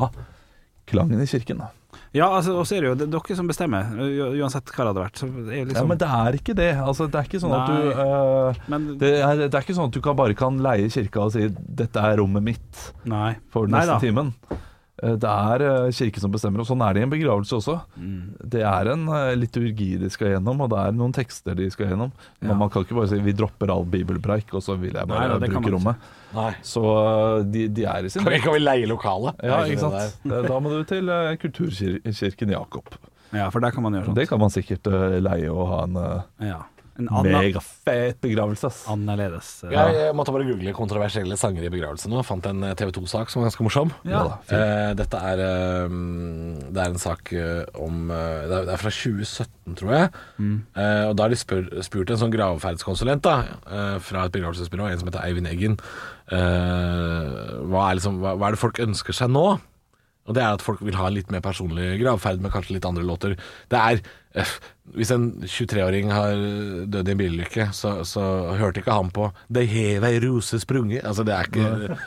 Speaker 5: klangen i kirken, da.
Speaker 4: Ja, altså, og så er det jo det er dere som bestemmer, u- uansett hva det hadde vært. Så det er jo
Speaker 5: Ja,
Speaker 4: liksom,
Speaker 5: men det er ikke det. Altså, det er ikke sånn at du eh,
Speaker 4: men,
Speaker 5: Det er, det er ikke sånn at du kan, bare kan leie kirka og si 'dette er rommet mitt'
Speaker 4: nei.
Speaker 5: for
Speaker 4: Nei
Speaker 5: neste
Speaker 4: da.
Speaker 5: timen. Eh, Det er eh, kirke som bestemmer, og sånn er det i en begravelse også.
Speaker 4: Mm.
Speaker 5: Det er en eh, liturgi de skal gjennom, og det er noen tekster de skal gjennom. Men man kan ikke bare si 'vi dropper all bibelpreik', og så vil jeg
Speaker 4: Nei,
Speaker 5: bare
Speaker 4: da, det kan
Speaker 5: bruke
Speaker 4: man ikke.
Speaker 5: rommet. Så eh, de, de er i sin
Speaker 3: Kan vi, kan vi leie lokalet?
Speaker 5: Ja,
Speaker 3: Er det
Speaker 5: ikke
Speaker 3: det
Speaker 5: sant. Eh, Da må du til eh, Kulturkirken Jakob.
Speaker 4: Ja, for der kan man gjøre sånt.
Speaker 5: Det kan man sikkert eh, leie og ha en eh,
Speaker 4: Ja. En annen,
Speaker 5: megafet begravelse, ass.
Speaker 4: annerledes eh,
Speaker 3: Jeg, jeg måtte bare google kontroversielle sanger i begravelse nå. Jeg fant en eh, TV 2-sak som var ganske morsom.
Speaker 5: Ja da, fint.
Speaker 3: Eh, dette er eh, Det er en sak eh, om eh, Det er- det er fra 2017, tror jeg.
Speaker 5: Mm.
Speaker 3: Eh, og Da har de spør, spurt en sånn gravferdskonsulent da eh, fra et begravelsesbyrå, en som heter Eivind Eggen, eh, hva, er liksom, hva, hva er det folk ønsker seg nå? Og det er at folk vil ha litt mer personlig gravferd med kanskje litt andre låter. Det er eh, Hvis en 23-åring har dødd i en bilulykke, så, så hørte ikke han på 'Det hev ei rose sprunget'. Altså, det er ikke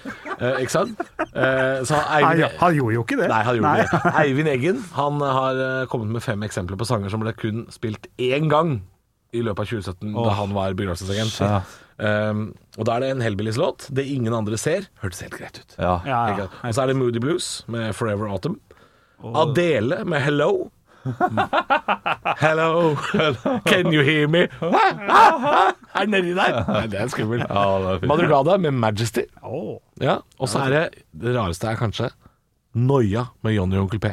Speaker 3: eh, Ikke sant? Eh, så
Speaker 4: Nei,
Speaker 3: Eivind,
Speaker 4: ja, han gjorde jo ikke det.
Speaker 3: Nei, han gjorde
Speaker 4: Nei.
Speaker 3: ikke det. Eivind Eggen han har eh, kommet med fem eksempler på sanger som ble kun spilt én gang i løpet av 2017, da han var begravelsesagent.
Speaker 5: Ja.
Speaker 3: Um, og da er det en Hellbillies-låt. 'Det ingen andre ser' hørtes helt greit ut.
Speaker 5: Ja.
Speaker 4: Ja,
Speaker 3: Ikke
Speaker 4: ja.
Speaker 3: sant? Og så er det Moody Blues med 'Forever Autumn'. Adele med 'Hello'. Hello, can you hear me? Er den nedi der? Nei, det er skummel. Madrugada med 'Majesty'.
Speaker 4: Åh.
Speaker 3: Ja, Og så er det det rareste er kanskje Noia med Johnny og Onkel P.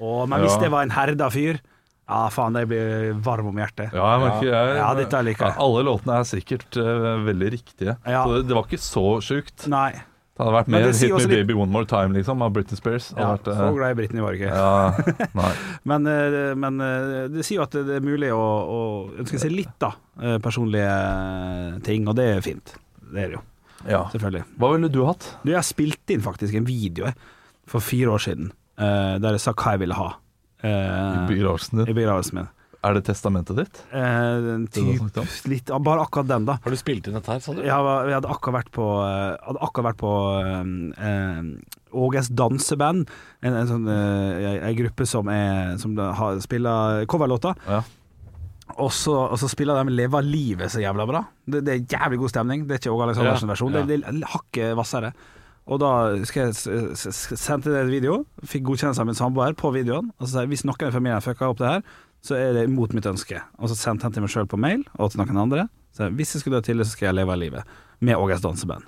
Speaker 4: Åh, men hvis det var en herda fyr Ja, faen, jeg blir varm om hjertet.
Speaker 5: Ja, jeg merker, jeg,
Speaker 4: Ja, dette liker jeg.
Speaker 5: Alle låtene er sikkert eh, veldig riktige.
Speaker 4: Ja.
Speaker 5: Så det, det var ikke så sjukt.
Speaker 4: Nei.
Speaker 5: Det hadde vært
Speaker 4: Men
Speaker 5: mer
Speaker 4: det sier
Speaker 5: Hit Me
Speaker 4: også litt-
Speaker 5: Baby One More Time liksom, av Britney Spears. Det
Speaker 4: Ja,
Speaker 5: hadde
Speaker 4: så
Speaker 5: vært,
Speaker 4: glad i Britney var jeg ikke.
Speaker 5: eh, ja, nei.
Speaker 4: [laughs] Men, eh, men eh, det sier jo at det er mulig å, å ønske seg litt, da. eh, Personlige eh, ting, og det er fint. Det er det jo,
Speaker 5: Ja.
Speaker 4: selvfølgelig.
Speaker 5: Hva ville du hatt?
Speaker 4: Du, jeg spilte inn faktisk en video jeg, for fire år siden eh, der jeg sa hva jeg ville ha eh,
Speaker 5: Begravelsen
Speaker 4: i
Speaker 5: din?
Speaker 4: begravelsen min.
Speaker 5: Er det testamentet ditt?
Speaker 4: Eh, en typ,
Speaker 5: snakket om?
Speaker 4: litt, ja, bare akkurat den, da.
Speaker 3: Har du spilt inn dette her, sa du?
Speaker 4: Jeg var- jeg hadde akkurat vært på, eh, hadde akkurat vært på eh, eh, Åges danseband, en, en sånn eh, en gruppe som, er, som da har, spiller coverlåter.
Speaker 5: Ja.
Speaker 4: Og så, og så spiller de 'Leva livet' så jævla bra. Det, det er jævlig god stemning. Det er ikke Åge Aleksandersen versjon,
Speaker 3: Ja, ja.
Speaker 4: det er litt hakket hvassere. Og da skal jeg s- s- s- sendte jeg en video, fikk godkjennelse av min samboer på videoen. Og så sa jeg hvis noen i familien fucka opp det her, så er det mot mitt ønske. Og så sendte jeg den til meg sjøl på mail, og til noen andre. Så jeg, hvis jeg skulle dø tidlig, så skal jeg leve av livet. med Åges danseband.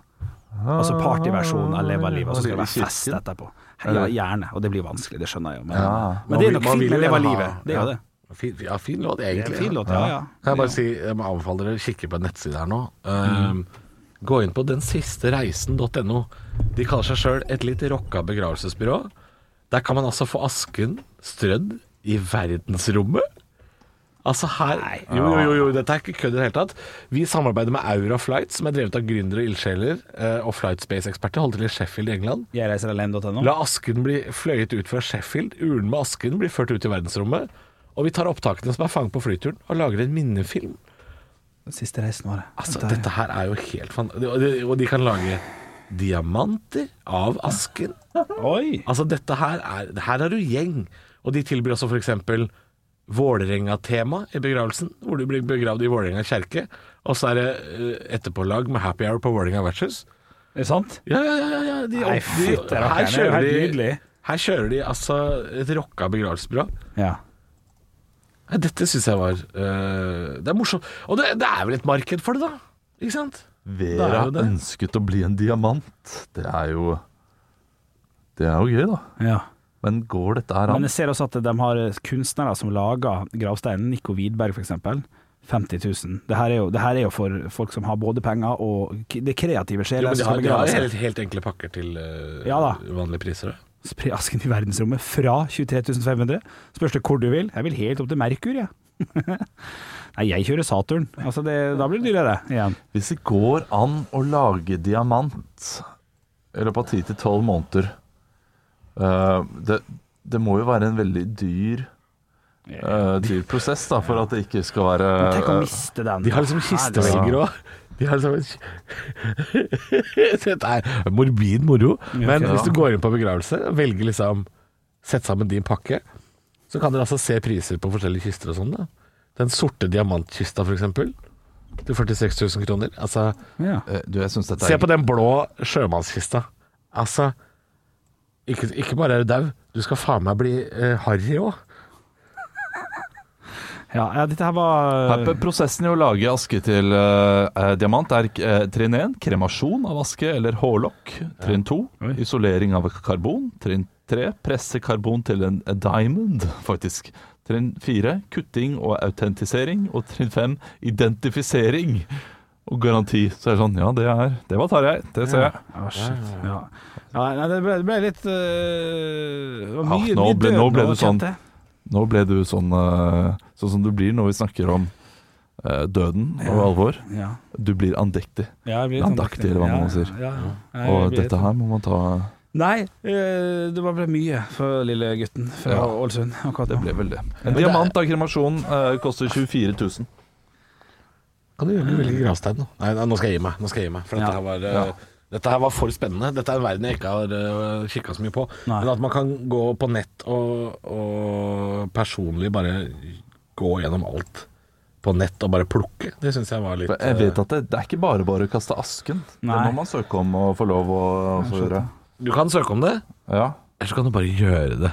Speaker 4: Altså partyversjonen av Leva livet, og så skal det
Speaker 5: I
Speaker 4: være fest
Speaker 5: kirken?
Speaker 4: etterpå. Ja, gjerne. Og det blir vanskelig, det skjønner jeg jo, men,
Speaker 5: Ja.
Speaker 4: men det
Speaker 3: Man
Speaker 4: er
Speaker 3: vil-
Speaker 4: nok
Speaker 3: man
Speaker 4: fint
Speaker 3: vil
Speaker 4: med
Speaker 3: jo
Speaker 4: Leva
Speaker 3: ha-
Speaker 4: livet. Det er jo det.
Speaker 3: Fin, ja, fin låt,
Speaker 4: Det er
Speaker 3: egentlig.
Speaker 4: en Fin låt, ja ja.
Speaker 3: Kan jeg bare si, jeg må anbefale dere å kikke på en nettside her nå. Ehm, Gå inn på densistereisen.no. De kaller seg sjøl et litt rocka begravelsesbyrå. Der kan man altså få asken strødd i verdensrommet. Altså her Jo, jo, jo, jo dette er ikke kødd i det hele tatt. Vi samarbeider med Aura Flight, som er drevet av gründere og ildsjeler eh, og flight space-eksperter, holder til i Sheffield i England.
Speaker 4: Jeg reiser alene.no.
Speaker 3: La asken bli fløyet ut fra Sheffield, ulen med asken blir ført ut i verdensrommet, og vi tar opptakene som er fanget på flyturen, og lager en minnefilm.
Speaker 4: Siste reisen var det.
Speaker 3: Altså,
Speaker 4: Der, ja.
Speaker 3: dette her er jo helt fan... Og de, og de kan lage diamanter av asken.
Speaker 4: Oi!
Speaker 3: Altså, dette her er Her er du gjeng. Og de tilbyr også for eksempel Vålerenga-tema i begravelsen, hvor du blir begravd i Vålerenga kjerke. Og så er det eh, etterpålag med happy hour på Vålerenga versus.
Speaker 4: Er det sant?
Speaker 3: Ja, ja, ja, ja, ja. De,
Speaker 4: Nei,
Speaker 3: de-
Speaker 4: fytti rakkeren,
Speaker 3: her,
Speaker 4: det er jo
Speaker 3: kjører
Speaker 4: helt
Speaker 3: de,
Speaker 4: nydelig.
Speaker 3: her kjører de altså et rocka begravelsesbyrå.
Speaker 4: Ja.
Speaker 3: Nei, dette syns jeg var eh, Det er morsomt. Og det, det er vel et marked for det, da? Ikke sant? Det er
Speaker 5: Vera
Speaker 3: jo det.
Speaker 5: ønsket å bli en diamant. Det er jo Det er jo gøy, da.
Speaker 4: ja.
Speaker 5: Men går dette her
Speaker 4: Men
Speaker 5: an?
Speaker 4: jeg ser også at de har kunstnere som lager gravsteinen. Nico Widberg, for eksempel. 50 000. Det her er jo, det her er jo for folk som har både penger og k- det kreative
Speaker 3: Jo,
Speaker 4: sjeler.
Speaker 3: men de
Speaker 4: som
Speaker 3: har, de
Speaker 4: begraver
Speaker 3: har
Speaker 4: seg.
Speaker 3: helt, helt enkle pakker til eh,
Speaker 4: Ja da.
Speaker 3: vanlige priser. da.
Speaker 4: Spre asken i verdensrommet fra 23 500. Spørs det hvor du vil. Jeg vil helt opp til Merkur, jeg. [laughs] Nei, jeg kjører Saturn. Altså det, da blir det dyrere igjen.
Speaker 5: Hvis det går an å lage diamant i løpet av 10-12 måneder eh, det, det må jo være en veldig dyr eh, dyr prosess da, for at det ikke skal være
Speaker 4: Tenk å
Speaker 5: eh,
Speaker 4: miste den.
Speaker 3: De har liksom kistevelgere òg. De har liksom [laughs] Dette er morbid moro. Men
Speaker 4: ok.
Speaker 3: hvis du går inn på begravelse og velger liksom Sett sammen din pakke, så kan dere altså se priser på forskjellige kister og sånn. da Den sorte diamantkista, for eksempel, til 46 000 kroner. Altså,
Speaker 4: Ja.
Speaker 5: eh, Du, jeg syns dette
Speaker 3: se
Speaker 5: er
Speaker 3: på den blå sjømannskista. Altså Ikke, ikke bare er du dau, du skal faen meg bli eh, harry òg.
Speaker 4: Ja, ja, dette her var
Speaker 5: Her- Prosessen i å lage aske til eh, eh, diamant er eh, trinn 1 kremasjon av aske eller hårlokk. Trinn 2
Speaker 4: Oi.
Speaker 5: isolering av karbon. Trinn 3 presse karbon til en a diamond, [laughs] faktisk. Trinn 4 kutting og autentisering. Og trinn 5 identifisering og garanti. Så er det sånn Ja, det, er, det var Tarjei. Det ser jeg.
Speaker 4: Å, shit. Ja. ja, nei, det ble, det ble litt øh, det var
Speaker 5: Ah,
Speaker 4: mye,
Speaker 5: nå
Speaker 4: mye
Speaker 5: ble- nå ble
Speaker 4: dødende
Speaker 5: du sånn.
Speaker 4: og kjente.
Speaker 5: Nå ble du sånn, eh, sånn som du blir når vi snakker om eh, døden og alvor.
Speaker 4: Ja.
Speaker 5: Du blir andektig.
Speaker 4: Ja, jeg blir litt
Speaker 5: Landaktig,
Speaker 4: andaktig.
Speaker 5: eller hva man
Speaker 4: Ja,
Speaker 5: sier.
Speaker 4: Ja, ja. Nei, jeg blir
Speaker 5: Og
Speaker 4: sånn. litt-
Speaker 5: dette her må man ta
Speaker 4: Nei, øh, det var ble mye for lille gutten fra
Speaker 5: Ja.
Speaker 4: Ålesund akkurat
Speaker 5: Det
Speaker 4: nå.
Speaker 5: ble vel det. En diamant av kremasjon eh, koster 24 000.
Speaker 3: Kan du gjøre med veldig gravstein nå? Nei, nei, nå skal jeg gi meg. Nå skal jeg gi meg for
Speaker 4: Ja.
Speaker 3: dette, her var, eh, dette her var for spennende. Dette er en verden jeg ikke har uh, kikka så mye på.
Speaker 4: Nei.
Speaker 3: Men at man kan gå på nett og, og personlig bare gå gjennom alt på nett og bare plukke, det syns jeg var litt
Speaker 5: For Jeg vet at det, det er ikke bare bare å kaste asken. Det
Speaker 4: Nei.
Speaker 5: må man søke om og få lov å å få gjøre.
Speaker 3: eh, Du kan søke om det,
Speaker 5: Ja.
Speaker 3: eller så kan du bare gjøre det.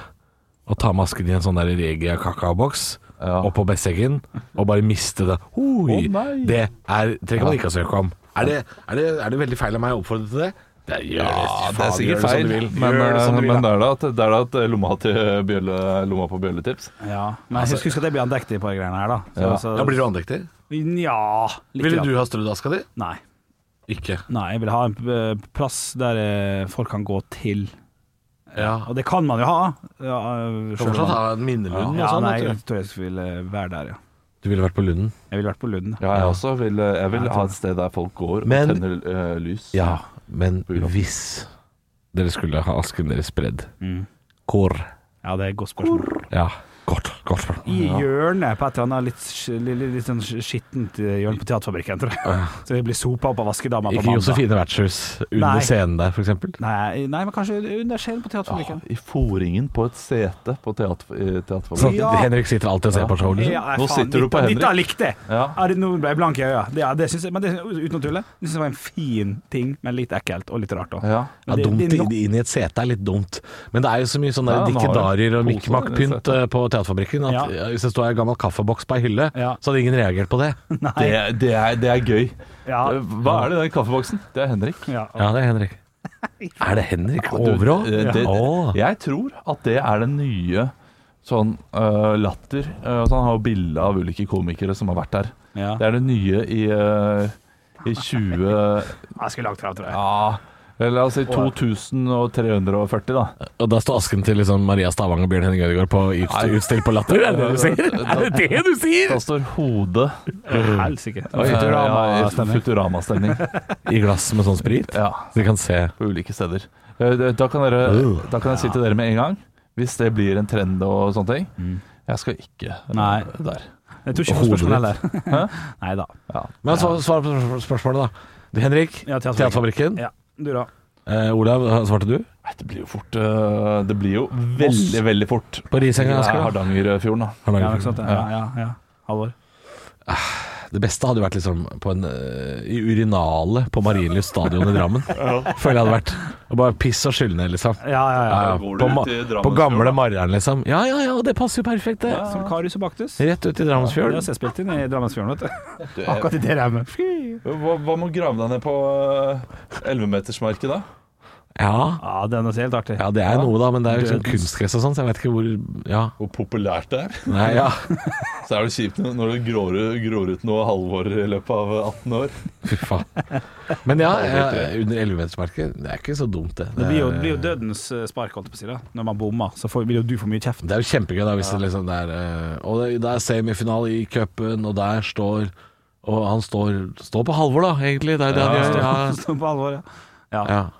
Speaker 3: Og ta masken i en sånn der Regia kakaoboks
Speaker 5: Ja.
Speaker 3: oppå bessekken og bare miste det. Oi,
Speaker 5: Å, nei.
Speaker 3: det er trenger man ikke å søke om. Er det, er, det, er det veldig feil av meg å oppfordre til det? det er, ja,
Speaker 5: Det er sikkert feil, men, eh,
Speaker 3: gjør det som du vil,
Speaker 5: men
Speaker 3: da.
Speaker 5: det er da at, det er da at eh, lomma, til bjølle, lomma på bjølletips.
Speaker 4: Ja. Altså- Men husk, husk at jeg blir andektig på de greiene her, da. Så,
Speaker 5: Ja.
Speaker 4: så,
Speaker 3: Ja, blir du andektig?
Speaker 4: Nja, litt.
Speaker 3: Ville
Speaker 4: grann.
Speaker 3: du ha strødd aska di?
Speaker 4: Nei.
Speaker 3: Ikke.
Speaker 4: Nei, jeg vil ha en øh, plass der øh, folk kan gå til.
Speaker 3: Ja.
Speaker 4: Og det kan man jo ha. Ja,
Speaker 3: Kan
Speaker 4: øh, selv om
Speaker 3: fortsatt
Speaker 4: man-
Speaker 3: ha en minnelund
Speaker 4: ja,
Speaker 3: og sånn.
Speaker 4: nei,
Speaker 3: vet
Speaker 4: jeg
Speaker 3: du.
Speaker 4: tror jeg skulle være der, ja.
Speaker 3: Du ville vært på Lunden?
Speaker 4: Jeg ville vært på Lund.
Speaker 5: Ja, jeg også vil, eh, jeg vil ha et sted der folk går og
Speaker 3: Men-
Speaker 5: tenner eh, lys.
Speaker 3: Ja, men
Speaker 5: julaften.
Speaker 3: hvis dere skulle ha asken deres spredd,
Speaker 4: Mm.
Speaker 3: hvor?
Speaker 4: Ja, det er et godt spørsmål.
Speaker 3: Ja. Godt, godt spørsmål.
Speaker 4: I hjørnet på et eller annet litt, sk- litt, litt, litt sånn skittent hjørne på Teaterfabrikken, tror jeg. Så det blir sopa opp av vaskedama på
Speaker 3: Ikke
Speaker 4: mandag.
Speaker 3: Josefine Vertshus under
Speaker 4: Nei.
Speaker 3: scenen der, for eksempel?
Speaker 4: Nei, nei, men kanskje under scenen på
Speaker 5: Ja,
Speaker 4: Teaterfabrikken.
Speaker 5: I foringen på et sete på teater, i
Speaker 3: Sånn,
Speaker 5: teaterfabrikken.
Speaker 4: Ja.
Speaker 3: Henrik sitter alltid og ser på showet? liksom?
Speaker 4: nei,
Speaker 5: Nå sitter du på
Speaker 4: dette-
Speaker 5: Henrik.
Speaker 4: Dette likte jeg!
Speaker 5: Ja.
Speaker 4: Ja, det- Nå ble jeg blank i øya. Det, ja, det synes jeg, men det, uten å tulle, det synes jeg var en fin ting, men litt ekkelt og litt rart òg.
Speaker 5: Ja.
Speaker 3: Ja,
Speaker 4: Det-
Speaker 3: dumt
Speaker 4: det er nok-
Speaker 3: i- inn i et sete er litt dumt. Men det er jo så mye sånne
Speaker 5: Ja, nå har du
Speaker 3: dikkedarier og
Speaker 5: posen i
Speaker 3: mikkemakk-pynt
Speaker 5: setet.
Speaker 3: eh, på Teaterfabrikken saken. At
Speaker 4: Ja.
Speaker 3: Hvis det står en gammel kaffeboks på ei hylle,
Speaker 4: Ja.
Speaker 3: så hadde ingen reagert på det.
Speaker 5: Det, er- det, er, det er gøy.
Speaker 4: Ja.
Speaker 5: Hva er det i den kaffeboksen? Det er Henrik.
Speaker 4: Ja.
Speaker 3: Ja, det er
Speaker 4: [laughs]
Speaker 3: Henrik. Er det Henrik Overå?
Speaker 5: Eh, det,
Speaker 3: Å.
Speaker 5: Jeg tror at det er den nye sånn øh, latter. Eh, altså, han har jo bilde av ulike komikere som har vært der.
Speaker 4: Ja.
Speaker 5: Det er det nye i, øh, i 20
Speaker 4: Jeg skulle langt fra, tror jeg.
Speaker 5: Ja, eller la oss si 2340, da.
Speaker 3: Og da står asken til liksom Maria Stavang og Bjørn Henning Ødegaard på ut, utstilt på latter? Er det det du sier? Er det det du sier?
Speaker 5: Da står hodet
Speaker 4: Helsike.
Speaker 5: eh, ja, i
Speaker 4: Futurama-stemning.
Speaker 5: Futurama-stemning.
Speaker 3: I glass med sånn sprit?
Speaker 5: Ja,
Speaker 3: Så de kan se.
Speaker 5: på ulike steder. Eh, det- Da kan, dere, da kan jeg si til dere med en gang, hvis det blir en trend og sånne ting Jeg skal ikke eh,
Speaker 4: Mm. Nei.
Speaker 5: der.
Speaker 4: Jeg tror ikke på spørsmålet heller. [laughs]
Speaker 5: Hæ?
Speaker 4: Nei da.
Speaker 5: Ja.
Speaker 3: Men så, svar på spør- spørsmålet, da. Du, Henrik,
Speaker 4: Ja,
Speaker 3: Teaterfabrikken.
Speaker 4: Ja, du da.
Speaker 3: Eh, Olav, svarte du?
Speaker 5: Nei, Det blir jo fort eh, Det blir jo veldig, veldig fort.
Speaker 3: På Risenga?
Speaker 5: Det er
Speaker 3: Asker, da?
Speaker 5: Hardangerfjorden, da.
Speaker 4: Ja,
Speaker 3: Hardanger.
Speaker 4: ikke sant? ja, ja, ja. Halvor.
Speaker 3: Det beste hadde jo vært liksom på en, eh, i urinalet på Marienlyst stadion i Drammen. Føler jeg hadde vært. Og bare piss og skylle ned, liksom.
Speaker 4: Ja, ja, ja.
Speaker 3: Ja, ja. På,
Speaker 5: går du
Speaker 3: ma-
Speaker 5: ut i
Speaker 3: på
Speaker 5: Drammensfjorden,
Speaker 3: gamle
Speaker 5: da.
Speaker 3: Marjern, liksom. Ja, ja, ja, det passer jo perfekt, det.
Speaker 4: Som Karius og Baktus.
Speaker 3: Rett ut i
Speaker 4: Det
Speaker 3: Drammensfjorden.
Speaker 4: har jeg spilt inn i Drammensfjorden, vet
Speaker 3: [laughs]
Speaker 4: du. Akkurat i det remmet. Fy.
Speaker 5: Hva, hva med å grave deg ned på ellevemetersmarket, da?
Speaker 3: Ja.
Speaker 4: Ja, den er helt artig.
Speaker 3: ja, det er noe, da, men det er jo liksom kunstgress og sånn, så jeg vet ikke hvor Ja.
Speaker 5: Hvor populært det er.
Speaker 3: Nei, ja.
Speaker 5: Så er det kjipt når- når det grår, grår ut noe halvår i løpet av 18 år.
Speaker 3: Fy faen. Men ja, eh, under 11-metersmerket, det er ikke så dumt, det.
Speaker 4: Det blir jo, det blir jo
Speaker 3: er-
Speaker 4: dødens eh, spark, holdt jeg på å si. da Når man bommer, så får, vil jo du få mye kjeft.
Speaker 3: Det er jo kjempegøy da hvis det liksom det er eh, Og det, det er semifinale i cupen, og der står Og han står, står på Halvor, da, egentlig. Det er det han gjør. Ja.
Speaker 4: [laughs] Sånn på alvor, ja.
Speaker 3: Ja.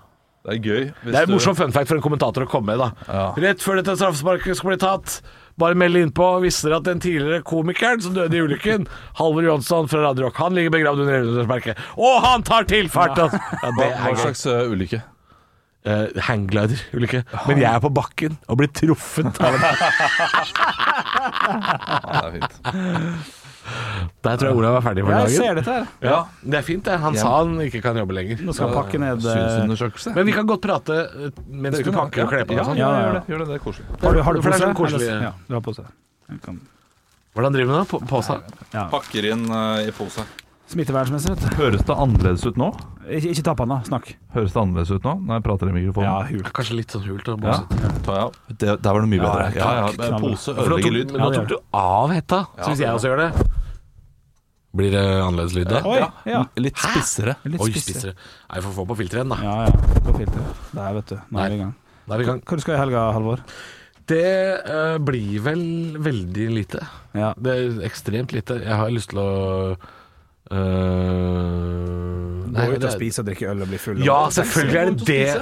Speaker 5: Det er gøy. hvis
Speaker 3: Det er en
Speaker 5: du-
Speaker 3: morsom fun fact for en kommentator å komme med, da. Rett før dette straffesparket skal bli tatt, bare meld innpå visste dere at den tidligere komikeren som døde i ulykken, [laughs] Halvor Jonsson fra Radio Rock, han ligger begravd under elvemetersmerket. Og han tar til fart! Altså. Ja, det
Speaker 5: Hva
Speaker 3: er gøy.
Speaker 5: slags eh, ulykke?
Speaker 3: Eh, Hangglider-ulykke. Men jeg er på bakken og blir truffet [laughs] av en
Speaker 5: Ja, det er fint.
Speaker 3: Der tror jeg Olav er ferdig for
Speaker 4: Jeg ser
Speaker 3: dagen.
Speaker 4: dette her.
Speaker 3: Ja, det er fint, det. Han sa han ikke kan jobbe lenger.
Speaker 4: Nå skal jeg pakke ned eh,
Speaker 5: Synsundersøkelse.
Speaker 3: Men vi kan godt prate eh, mens du pakker og kler på deg. og sånn.
Speaker 5: Ja,
Speaker 4: Ja, ja,
Speaker 5: gjør
Speaker 4: ja.
Speaker 5: det. Gjør det, det er koselig.
Speaker 4: Har du, har du
Speaker 3: For det er
Speaker 4: pose?
Speaker 3: sånn koselig-
Speaker 4: Eller- Ja, du har pose. Jeg kan-
Speaker 3: Hvordan driver du nå? På, på seg?
Speaker 4: Ja.
Speaker 5: Pakker inn eh, i pose.
Speaker 4: Smittevernmessig, vet du.
Speaker 5: Høres det annerledes ut nå?
Speaker 4: Ikke, ikke tapp han, da. Snakk.
Speaker 5: Høres det annerledes ut nå når jeg prater i mikrofonen?
Speaker 4: Ja, hult.
Speaker 3: Kanskje litt sånn hult. og
Speaker 5: Ja.
Speaker 3: båset.
Speaker 5: Tar jeg av. Det, der var det mye bedre.
Speaker 4: Ja, ja,
Speaker 5: men
Speaker 4: knall.
Speaker 3: For nå tok, men nå
Speaker 4: Ja,
Speaker 3: tok
Speaker 4: det
Speaker 3: du av hetta, så hvis jeg også gjør det Blir det annerledes lyd da?
Speaker 4: Oi,
Speaker 3: Mm.
Speaker 4: ja.
Speaker 5: Litt spissere.
Speaker 4: Litt
Speaker 3: Oi,
Speaker 4: spissere.
Speaker 3: spissere. Nei, vi får få på filteret igjen, da.
Speaker 4: Ja, ja. Gå fint. det. Der, vet du. Nå er vi i gang.
Speaker 3: Da er vi i gang.
Speaker 4: Hva du skal i helga, Halvor?
Speaker 3: Det eh, blir vel veldig lite.
Speaker 4: Ja.
Speaker 3: Det er ekstremt lite. Jeg har lyst til å eh, nei,
Speaker 4: Gå ut og
Speaker 3: det-
Speaker 4: spise og drikke øl og bli full.
Speaker 3: Ja, selvfølgelig er det det.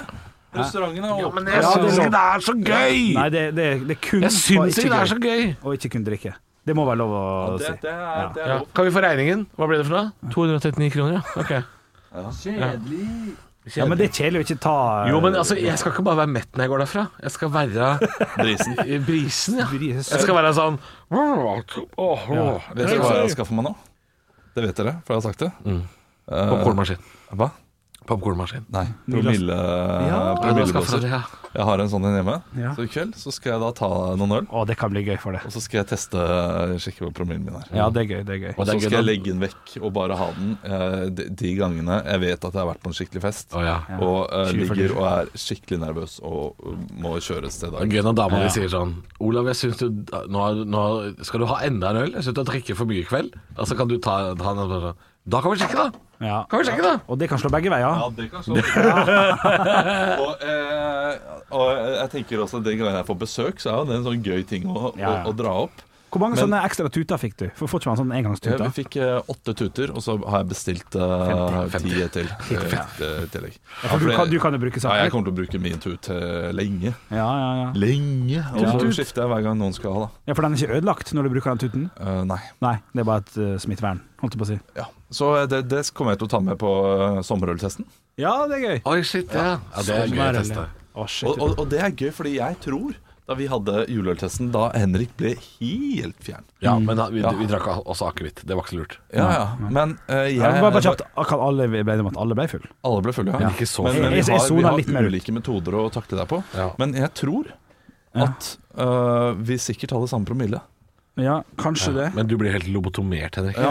Speaker 5: Restauranten er åpen.
Speaker 3: Men jeg syns ikke det er så
Speaker 4: Nei,
Speaker 3: gøy!
Speaker 4: det, det, det er kun
Speaker 3: Jeg syns ikke det er så gøy!
Speaker 4: Og ikke kun drikke. Det må være lov å si.
Speaker 5: Det, det er, det er
Speaker 3: Ja.
Speaker 5: lov.
Speaker 3: Kan vi få regningen? Hva ble det for noe? 239 kroner, ja. Ok. Kjedelig.
Speaker 4: Ja, men det er kjedelig å ikke ta
Speaker 3: Jo, men altså, jeg skal ikke bare være mett når jeg går derfra. Jeg skal være
Speaker 5: Brisen.
Speaker 3: i brisen, ja.
Speaker 4: Bri-
Speaker 3: Jeg skal være sånn Åh, åh.
Speaker 5: Vet dere hva jeg har skaffa meg nå? Det vet dere, for jeg har sagt det. Eh,
Speaker 3: Popkornmaskin.
Speaker 5: hva?
Speaker 3: Popkornmaskin.
Speaker 5: Nei, promille, promillebåser.
Speaker 3: Ja.
Speaker 5: Jeg har en sånn en hjemme.
Speaker 4: Ja.
Speaker 5: Så i kveld så skal jeg da ta noen øl,
Speaker 4: Å, det kan bli gøy for det.
Speaker 5: og så skal jeg teste eh, sjekke hvor promillen min er.
Speaker 4: Ja, det er gøy. det er gøy
Speaker 5: Og så
Speaker 3: det er gøy,
Speaker 5: skal jeg
Speaker 3: da.
Speaker 5: legge den vekk og bare ha den eh, de, de gangene jeg vet at jeg har vært på en skikkelig fest.
Speaker 3: Å, ja.
Speaker 5: Og eh,
Speaker 4: Skikkelig
Speaker 5: ligger og er skikkelig nervøs og uh, må kjøres til
Speaker 3: Det er
Speaker 5: dag.
Speaker 3: gøy når dama di sier sånn Olav, jeg syns du nå, har- nå har- Skal du ha enda en øl? Jeg syns du har drukket for mye i kveld. Og så kan du ta, ta en øl. Da kan vi sjekke, da!
Speaker 4: Ja.
Speaker 3: Kan vi sjekke, da!
Speaker 4: Og det kan slå begge veier.
Speaker 5: det kan stå. og, eh, og jeg tenker også den gangen jeg får besøk, så er jo det en sånn gøy ting å, å,
Speaker 4: Ja, ja.
Speaker 5: å dra opp.
Speaker 4: Hvor mange
Speaker 5: Men-
Speaker 4: sånne ekstra tuter fikk du? For Får ikke man sånn
Speaker 5: Ja,
Speaker 4: engangstuter?
Speaker 5: vi fikk eh, åtte tuter, og så har jeg bestilt eh,
Speaker 3: 50.
Speaker 5: ti til. eh, i tillegg. Ja,
Speaker 4: For
Speaker 5: for
Speaker 4: du
Speaker 5: det-
Speaker 4: kan, du kan jo bruke
Speaker 5: ja,
Speaker 4: sånn.
Speaker 5: jeg kommer til å bruke min tut eh, lenge.
Speaker 4: Ja, ja, ja.
Speaker 5: Lenge! Og
Speaker 4: Ja.
Speaker 5: så skifter jeg hver gang noen skal ha, da.
Speaker 4: ja, for den er ikke ødelagt når du bruker den tuten?
Speaker 5: Eh, nei.
Speaker 4: Nei, det er bare et eh, smittevern, holdt jeg på å si.
Speaker 5: Ja, Så eh, det, det kommer jeg til å ta med på eh, sommerøltesten.
Speaker 4: Ja, det er gøy.
Speaker 3: Oi, shit, ja. ja det er
Speaker 4: Sånn
Speaker 3: gøy å
Speaker 4: er det.
Speaker 3: teste.
Speaker 4: Å, shit.
Speaker 5: Og, og, og det er gøy, fordi jeg tror da vi hadde juleøltesten, da Henrik ble helt fjern.
Speaker 3: Mm. Ja, men da, vi, vi drakk også akevitt. Det var ikke så lurt.
Speaker 5: Ja, ja, Men eh, jeg
Speaker 4: Ja, men bare, bare kjapt, kan alle vi ble enige om at alle ble full?
Speaker 5: Alle ble fulle,
Speaker 3: Men ikke så
Speaker 5: Men, men
Speaker 4: Jeg-
Speaker 5: vi
Speaker 4: jeg
Speaker 5: har,
Speaker 4: soner litt
Speaker 5: vi
Speaker 4: mer
Speaker 5: har
Speaker 4: ut.
Speaker 5: ulike metoder å takle deg på.
Speaker 3: Ja.
Speaker 5: Men jeg tror at eh, vi sikkert hadde samme promille.
Speaker 4: Ja, kanskje det.
Speaker 3: Men du blir helt lobotomert, Henrik.
Speaker 4: Ja.
Speaker 3: Det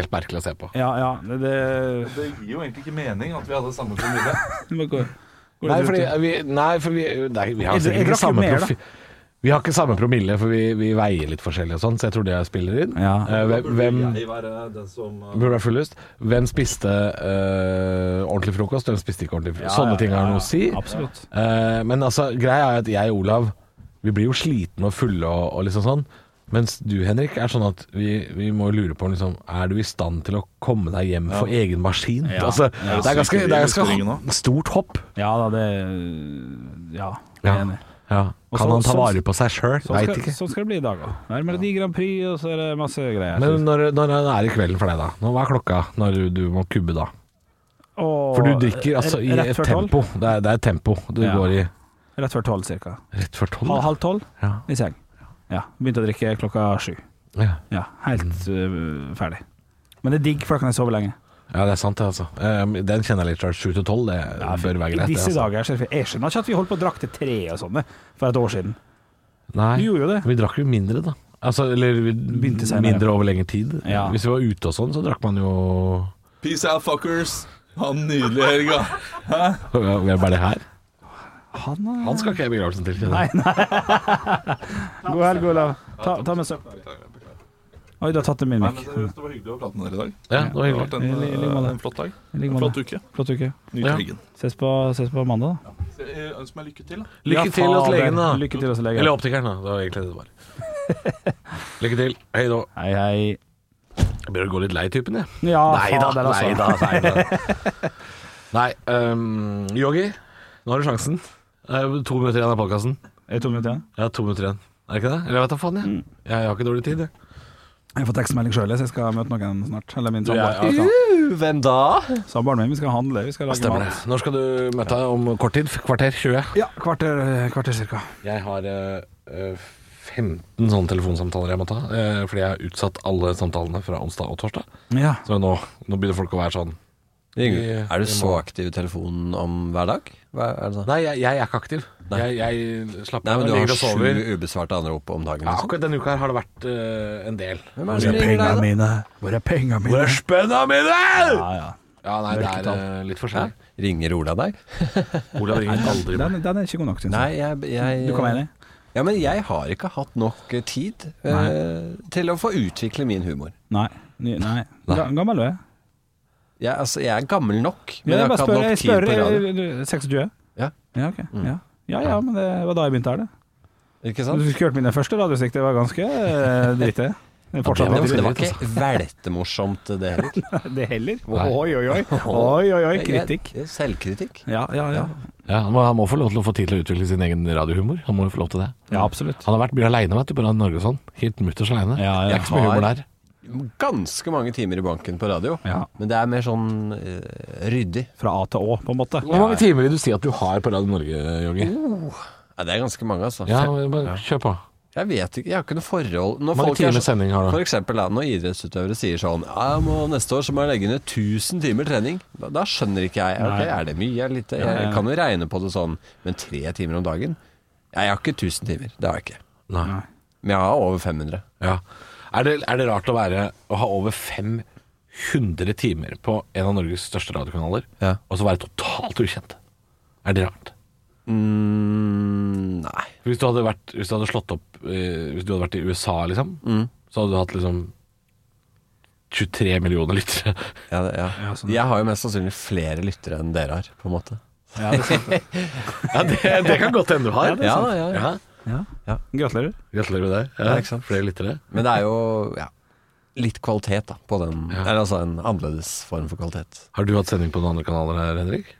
Speaker 3: er helt merkelig å se på.
Speaker 4: Ja, ja. Det, det,
Speaker 5: Det gir jo egentlig ikke mening at vi hadde samme familie.
Speaker 4: [laughs] det må gå. går
Speaker 3: Nei,
Speaker 4: litt
Speaker 3: fordi
Speaker 4: ut i-
Speaker 3: vi, nei, for vi, nei, vi har
Speaker 4: Jeg-
Speaker 3: sikkert
Speaker 4: jeg drakk
Speaker 3: ikke
Speaker 4: jo
Speaker 3: samme
Speaker 4: mer, da.
Speaker 3: profi... Vi har ikke samme promille, for vi, vi veier litt forskjellig og sånn, så jeg tror det spiller inn.
Speaker 4: Ja.
Speaker 3: Eh, hvem, hvem,
Speaker 5: jeg være den som eh,
Speaker 3: burde være fullest. hvem spiste eh, ordentlig frokost, hvem spiste ikke ordentlig frokost? Sånne ting har noe å si.
Speaker 4: Absolutt.
Speaker 3: Eh, men altså, greia er at jeg og Olav Vi blir jo slitne og fulle og, og liksom sånn. Mens du, Henrik, er sånn at vi, vi må jo lure på liksom, Er du i stand til å komme deg hjem for egen maskin?
Speaker 4: Ja.
Speaker 3: Altså,
Speaker 4: Ja.
Speaker 3: Det er ganske, det er ganske
Speaker 5: Sykebil,
Speaker 3: ho- stort hopp.
Speaker 4: Ja da, det Ja, jeg
Speaker 3: Ja.
Speaker 4: er enig. Og
Speaker 3: Kan
Speaker 4: så-
Speaker 3: han ta
Speaker 4: sånn-
Speaker 3: vare på seg sjøl?
Speaker 4: Sånn
Speaker 3: Veit
Speaker 4: skal,
Speaker 3: ikke.
Speaker 4: sånn skal det bli i dag òg. Det er Melodi Grand Prix, og så er det masse greier.
Speaker 3: Men når, når er det kvelden for deg, da? Nå, hva er klokka når du, du må kubbe da?
Speaker 4: Og- eh,
Speaker 3: For du drikker altså i
Speaker 4: rett
Speaker 3: et
Speaker 4: før tolv.
Speaker 3: tempo. Det er, det er et tempo du
Speaker 4: Ja.
Speaker 3: går i
Speaker 4: Rett før tolv, cirka.
Speaker 3: rett før tolv.
Speaker 4: Halv, halv tolv
Speaker 3: Ja.
Speaker 4: i seng. Ja. Begynte å drikke klokka sju.
Speaker 3: Ja.
Speaker 4: Ja, helt
Speaker 3: Mm.
Speaker 4: øh, ferdig. Men det er digg, for da kan jeg sove lenge.
Speaker 3: ja, det er sant det, altså. Eh, Den kjenner jeg litt sjøl. Sju til tolv, det bør være greit.
Speaker 4: I
Speaker 3: det,
Speaker 4: disse
Speaker 3: altså.
Speaker 4: dager så er det- Jeg skjønner ikke at vi holdt på å drakk til tre og sånne for et år siden.
Speaker 3: Nei.
Speaker 4: Du gjorde jo det.
Speaker 3: Vi drakk jo mindre, da. Altså, eller vi
Speaker 4: Begynte senere.
Speaker 3: mindre over lengre tid.
Speaker 4: Ja.
Speaker 3: Hvis vi var ute og sånn, så drakk man jo [laughs]
Speaker 5: Peace out, fuckers. Ha en nydelig helg, da.
Speaker 3: Hvem er det her?
Speaker 4: Han, øh,
Speaker 3: Han skal ikke jeg i begravelsen til.
Speaker 4: Nei, nei. God helg, Olav. Ta, ta med søpla. Oi, du har tatt det min
Speaker 5: Nei,
Speaker 4: mikk.
Speaker 5: men det, det var hyggelig å prate med dere i dag.
Speaker 3: Ja, det var
Speaker 5: Det har
Speaker 3: hyggelig.
Speaker 5: vært en,
Speaker 4: I li- i like måte.
Speaker 5: eh, en flott dag.
Speaker 4: I like
Speaker 5: En flott
Speaker 4: måte.
Speaker 5: uke.
Speaker 4: Flott uke.
Speaker 5: Nyt
Speaker 3: Ja.
Speaker 5: helgen.
Speaker 4: Ses på, ses på mandag, da.
Speaker 5: Så jeg ønsker meg lykke til. da.
Speaker 3: Lykke
Speaker 4: Ja,
Speaker 3: til hos
Speaker 4: fader.
Speaker 3: legen, da.
Speaker 4: Lykke til hos legen.
Speaker 3: Eller optikeren, da. Det var egentlig det det var.
Speaker 4: [laughs]
Speaker 3: Lykke til. Hei da.
Speaker 4: Hei, hei.
Speaker 3: Jeg begynner å gå litt lei typen, jeg.
Speaker 4: Ja,
Speaker 3: Nei da,
Speaker 4: fader, altså.
Speaker 3: nei da. Nei, da. nei øhm, Yogi, nå har du sjansen. Det er jo to minutter igjen av podkasten.
Speaker 4: Er det to minutter igjen?
Speaker 3: Jeg har to minutter igjen. Er det ikke det? Eller jeg vet da faen, jeg.
Speaker 6: Mm.
Speaker 3: Jeg, jeg har ikke dårlig tid, jeg.
Speaker 4: Jeg får tekstmelding sjøl, så jeg skal møte noen snart. Eller min
Speaker 3: Du, jeg,
Speaker 4: samboer.
Speaker 3: jeg
Speaker 6: Uh,
Speaker 3: Hvem da?
Speaker 4: Samboeren min. Vi skal handle, vi skal lage
Speaker 3: Stemmer det.
Speaker 4: mat.
Speaker 3: Når skal du møte deg om kort tid? Kvarter 20?
Speaker 4: Ja, kvarter, kvarter cirka.
Speaker 3: Jeg har eh, eh, 15 sånne telefonsamtaler jeg må ta, eh, fordi jeg har utsatt alle samtalene fra onsdag og torsdag.
Speaker 4: Ja.
Speaker 3: Så nå, nå begynner folk å være sånn
Speaker 6: Ingrid,
Speaker 3: I-
Speaker 6: Er
Speaker 3: i
Speaker 6: du så aktiv i telefonen om hver dag? Hva er det sånn?
Speaker 3: Nei, jeg, jeg er ikke aktiv. Jeg, jeg slapper
Speaker 6: Nei, men
Speaker 3: av,
Speaker 6: du har
Speaker 3: ligger og sover.
Speaker 6: sju ubesvarte anrop om dagen.
Speaker 3: Ja,
Speaker 6: Liksom.
Speaker 3: akkurat denne uka her har det vært eh, en del.
Speaker 6: Hvem er det som ringer deg, da?
Speaker 4: mine? Hvor er penga mine?
Speaker 3: spenna mine?!
Speaker 4: Ja, ja.
Speaker 3: Ja, nei, det er eh, litt
Speaker 6: Hæ?
Speaker 3: forskjellig.
Speaker 6: Ringer Ola deg?
Speaker 3: Olav ringer aldri meg.
Speaker 4: Den, den er ikke god nok, syns
Speaker 6: Nei,
Speaker 4: jeg.
Speaker 6: jeg, jeg
Speaker 4: Du kan være enig?
Speaker 6: Ja, men jeg har ikke hatt nok eh, tid eh, til å få utvikle min humor.
Speaker 4: Nei. Ny, nei. Ga, gammel du er.
Speaker 6: Jeg, altså, jeg er gammel nok, men
Speaker 4: Ja,
Speaker 6: jeg har
Speaker 4: bare spør,
Speaker 6: ikke hatt nok
Speaker 4: jeg
Speaker 6: tid
Speaker 4: spør,
Speaker 6: på radio.
Speaker 4: eh, du- 26?
Speaker 6: Ja.
Speaker 4: Ja, ok. Ja. ja ja, men det var da jeg begynte her, det.
Speaker 6: Ikke
Speaker 4: Du
Speaker 6: sant?
Speaker 4: skulle hørt mine første radiosikter, det var ganske eh, dritt, det. Det er
Speaker 6: Ja,
Speaker 4: Fortsatt
Speaker 6: men
Speaker 4: ganske
Speaker 6: det var
Speaker 4: dritt.
Speaker 6: ikke veltemorsomt, det heller.
Speaker 4: altså. [laughs] Det heller.
Speaker 3: Nei.
Speaker 4: Oi, oi, [laughs] oi. Oi, oi, oi. Kritikk.
Speaker 6: Jeg- jeg- Selvkritikk.
Speaker 4: Ja, ja, ja.
Speaker 3: Ja, han, må, han må få lov til å få tid til å utvikle sin egen radiohumor. Han må jo få lov til det.
Speaker 4: Ja, absolutt.
Speaker 3: Han har vært mye aleine, vet du, på Radio Norge og sånn. Helt mutters aleine.
Speaker 4: Ja,
Speaker 3: Det
Speaker 4: jeg
Speaker 3: er ikke så mye humor der.
Speaker 6: Ganske mange timer i banken på radio,
Speaker 4: Ja.
Speaker 6: men det er mer sånn eh, ryddig.
Speaker 4: Fra A til Å, på en måte.
Speaker 3: Hvor mange timer vil du si at du har på Radio Norge, Jongi?
Speaker 4: Oh.
Speaker 6: Ja, det er ganske mange, altså.
Speaker 3: Ja, bare kjør på.
Speaker 6: Jeg vet ikke, jeg har ikke noe forhold Når
Speaker 3: mange
Speaker 6: folk er
Speaker 3: timer
Speaker 6: så-
Speaker 3: sending har du?
Speaker 6: For eksempel da, når idrettsutøvere sier sånn «Ja, jeg må, Neste år så må jeg legge ned 1000 timer trening Da, da skjønner ikke jeg Ok, er det mye, er det lite Jeg kan jo regne på det sånn Men tre timer om dagen Jeg har ikke 1000 timer, det har jeg ikke
Speaker 3: Nei.
Speaker 6: Men jeg har over 500
Speaker 3: Ja. Er, det, er det rart å være Å ha over 500 timer på en av Norges største radiokanaler,
Speaker 6: Ja.
Speaker 3: og så være totalt ukjent? Er det rart?
Speaker 6: mm, Nei
Speaker 3: Hvis du hadde, vært, hvis du hadde slått opp eh, Hvis du hadde vært i USA, liksom, så hadde du hatt liksom 23 millioner lyttere.
Speaker 6: ja, det- ja. Jeg har jo mest sannsynlig flere lyttere enn dere har På en måte
Speaker 3: Ja, det, det kan godt hende du har.
Speaker 6: Ja, ja, ja,
Speaker 3: Ja.
Speaker 4: Gratulerer.
Speaker 3: Gratulerer med det. Ja, Flere lyttere.
Speaker 6: Men det er jo ja, litt kvalitet da På den, eller altså en annerledes form for kvalitet
Speaker 3: Har du hatt sending på noen andre kanaler her, Henrik?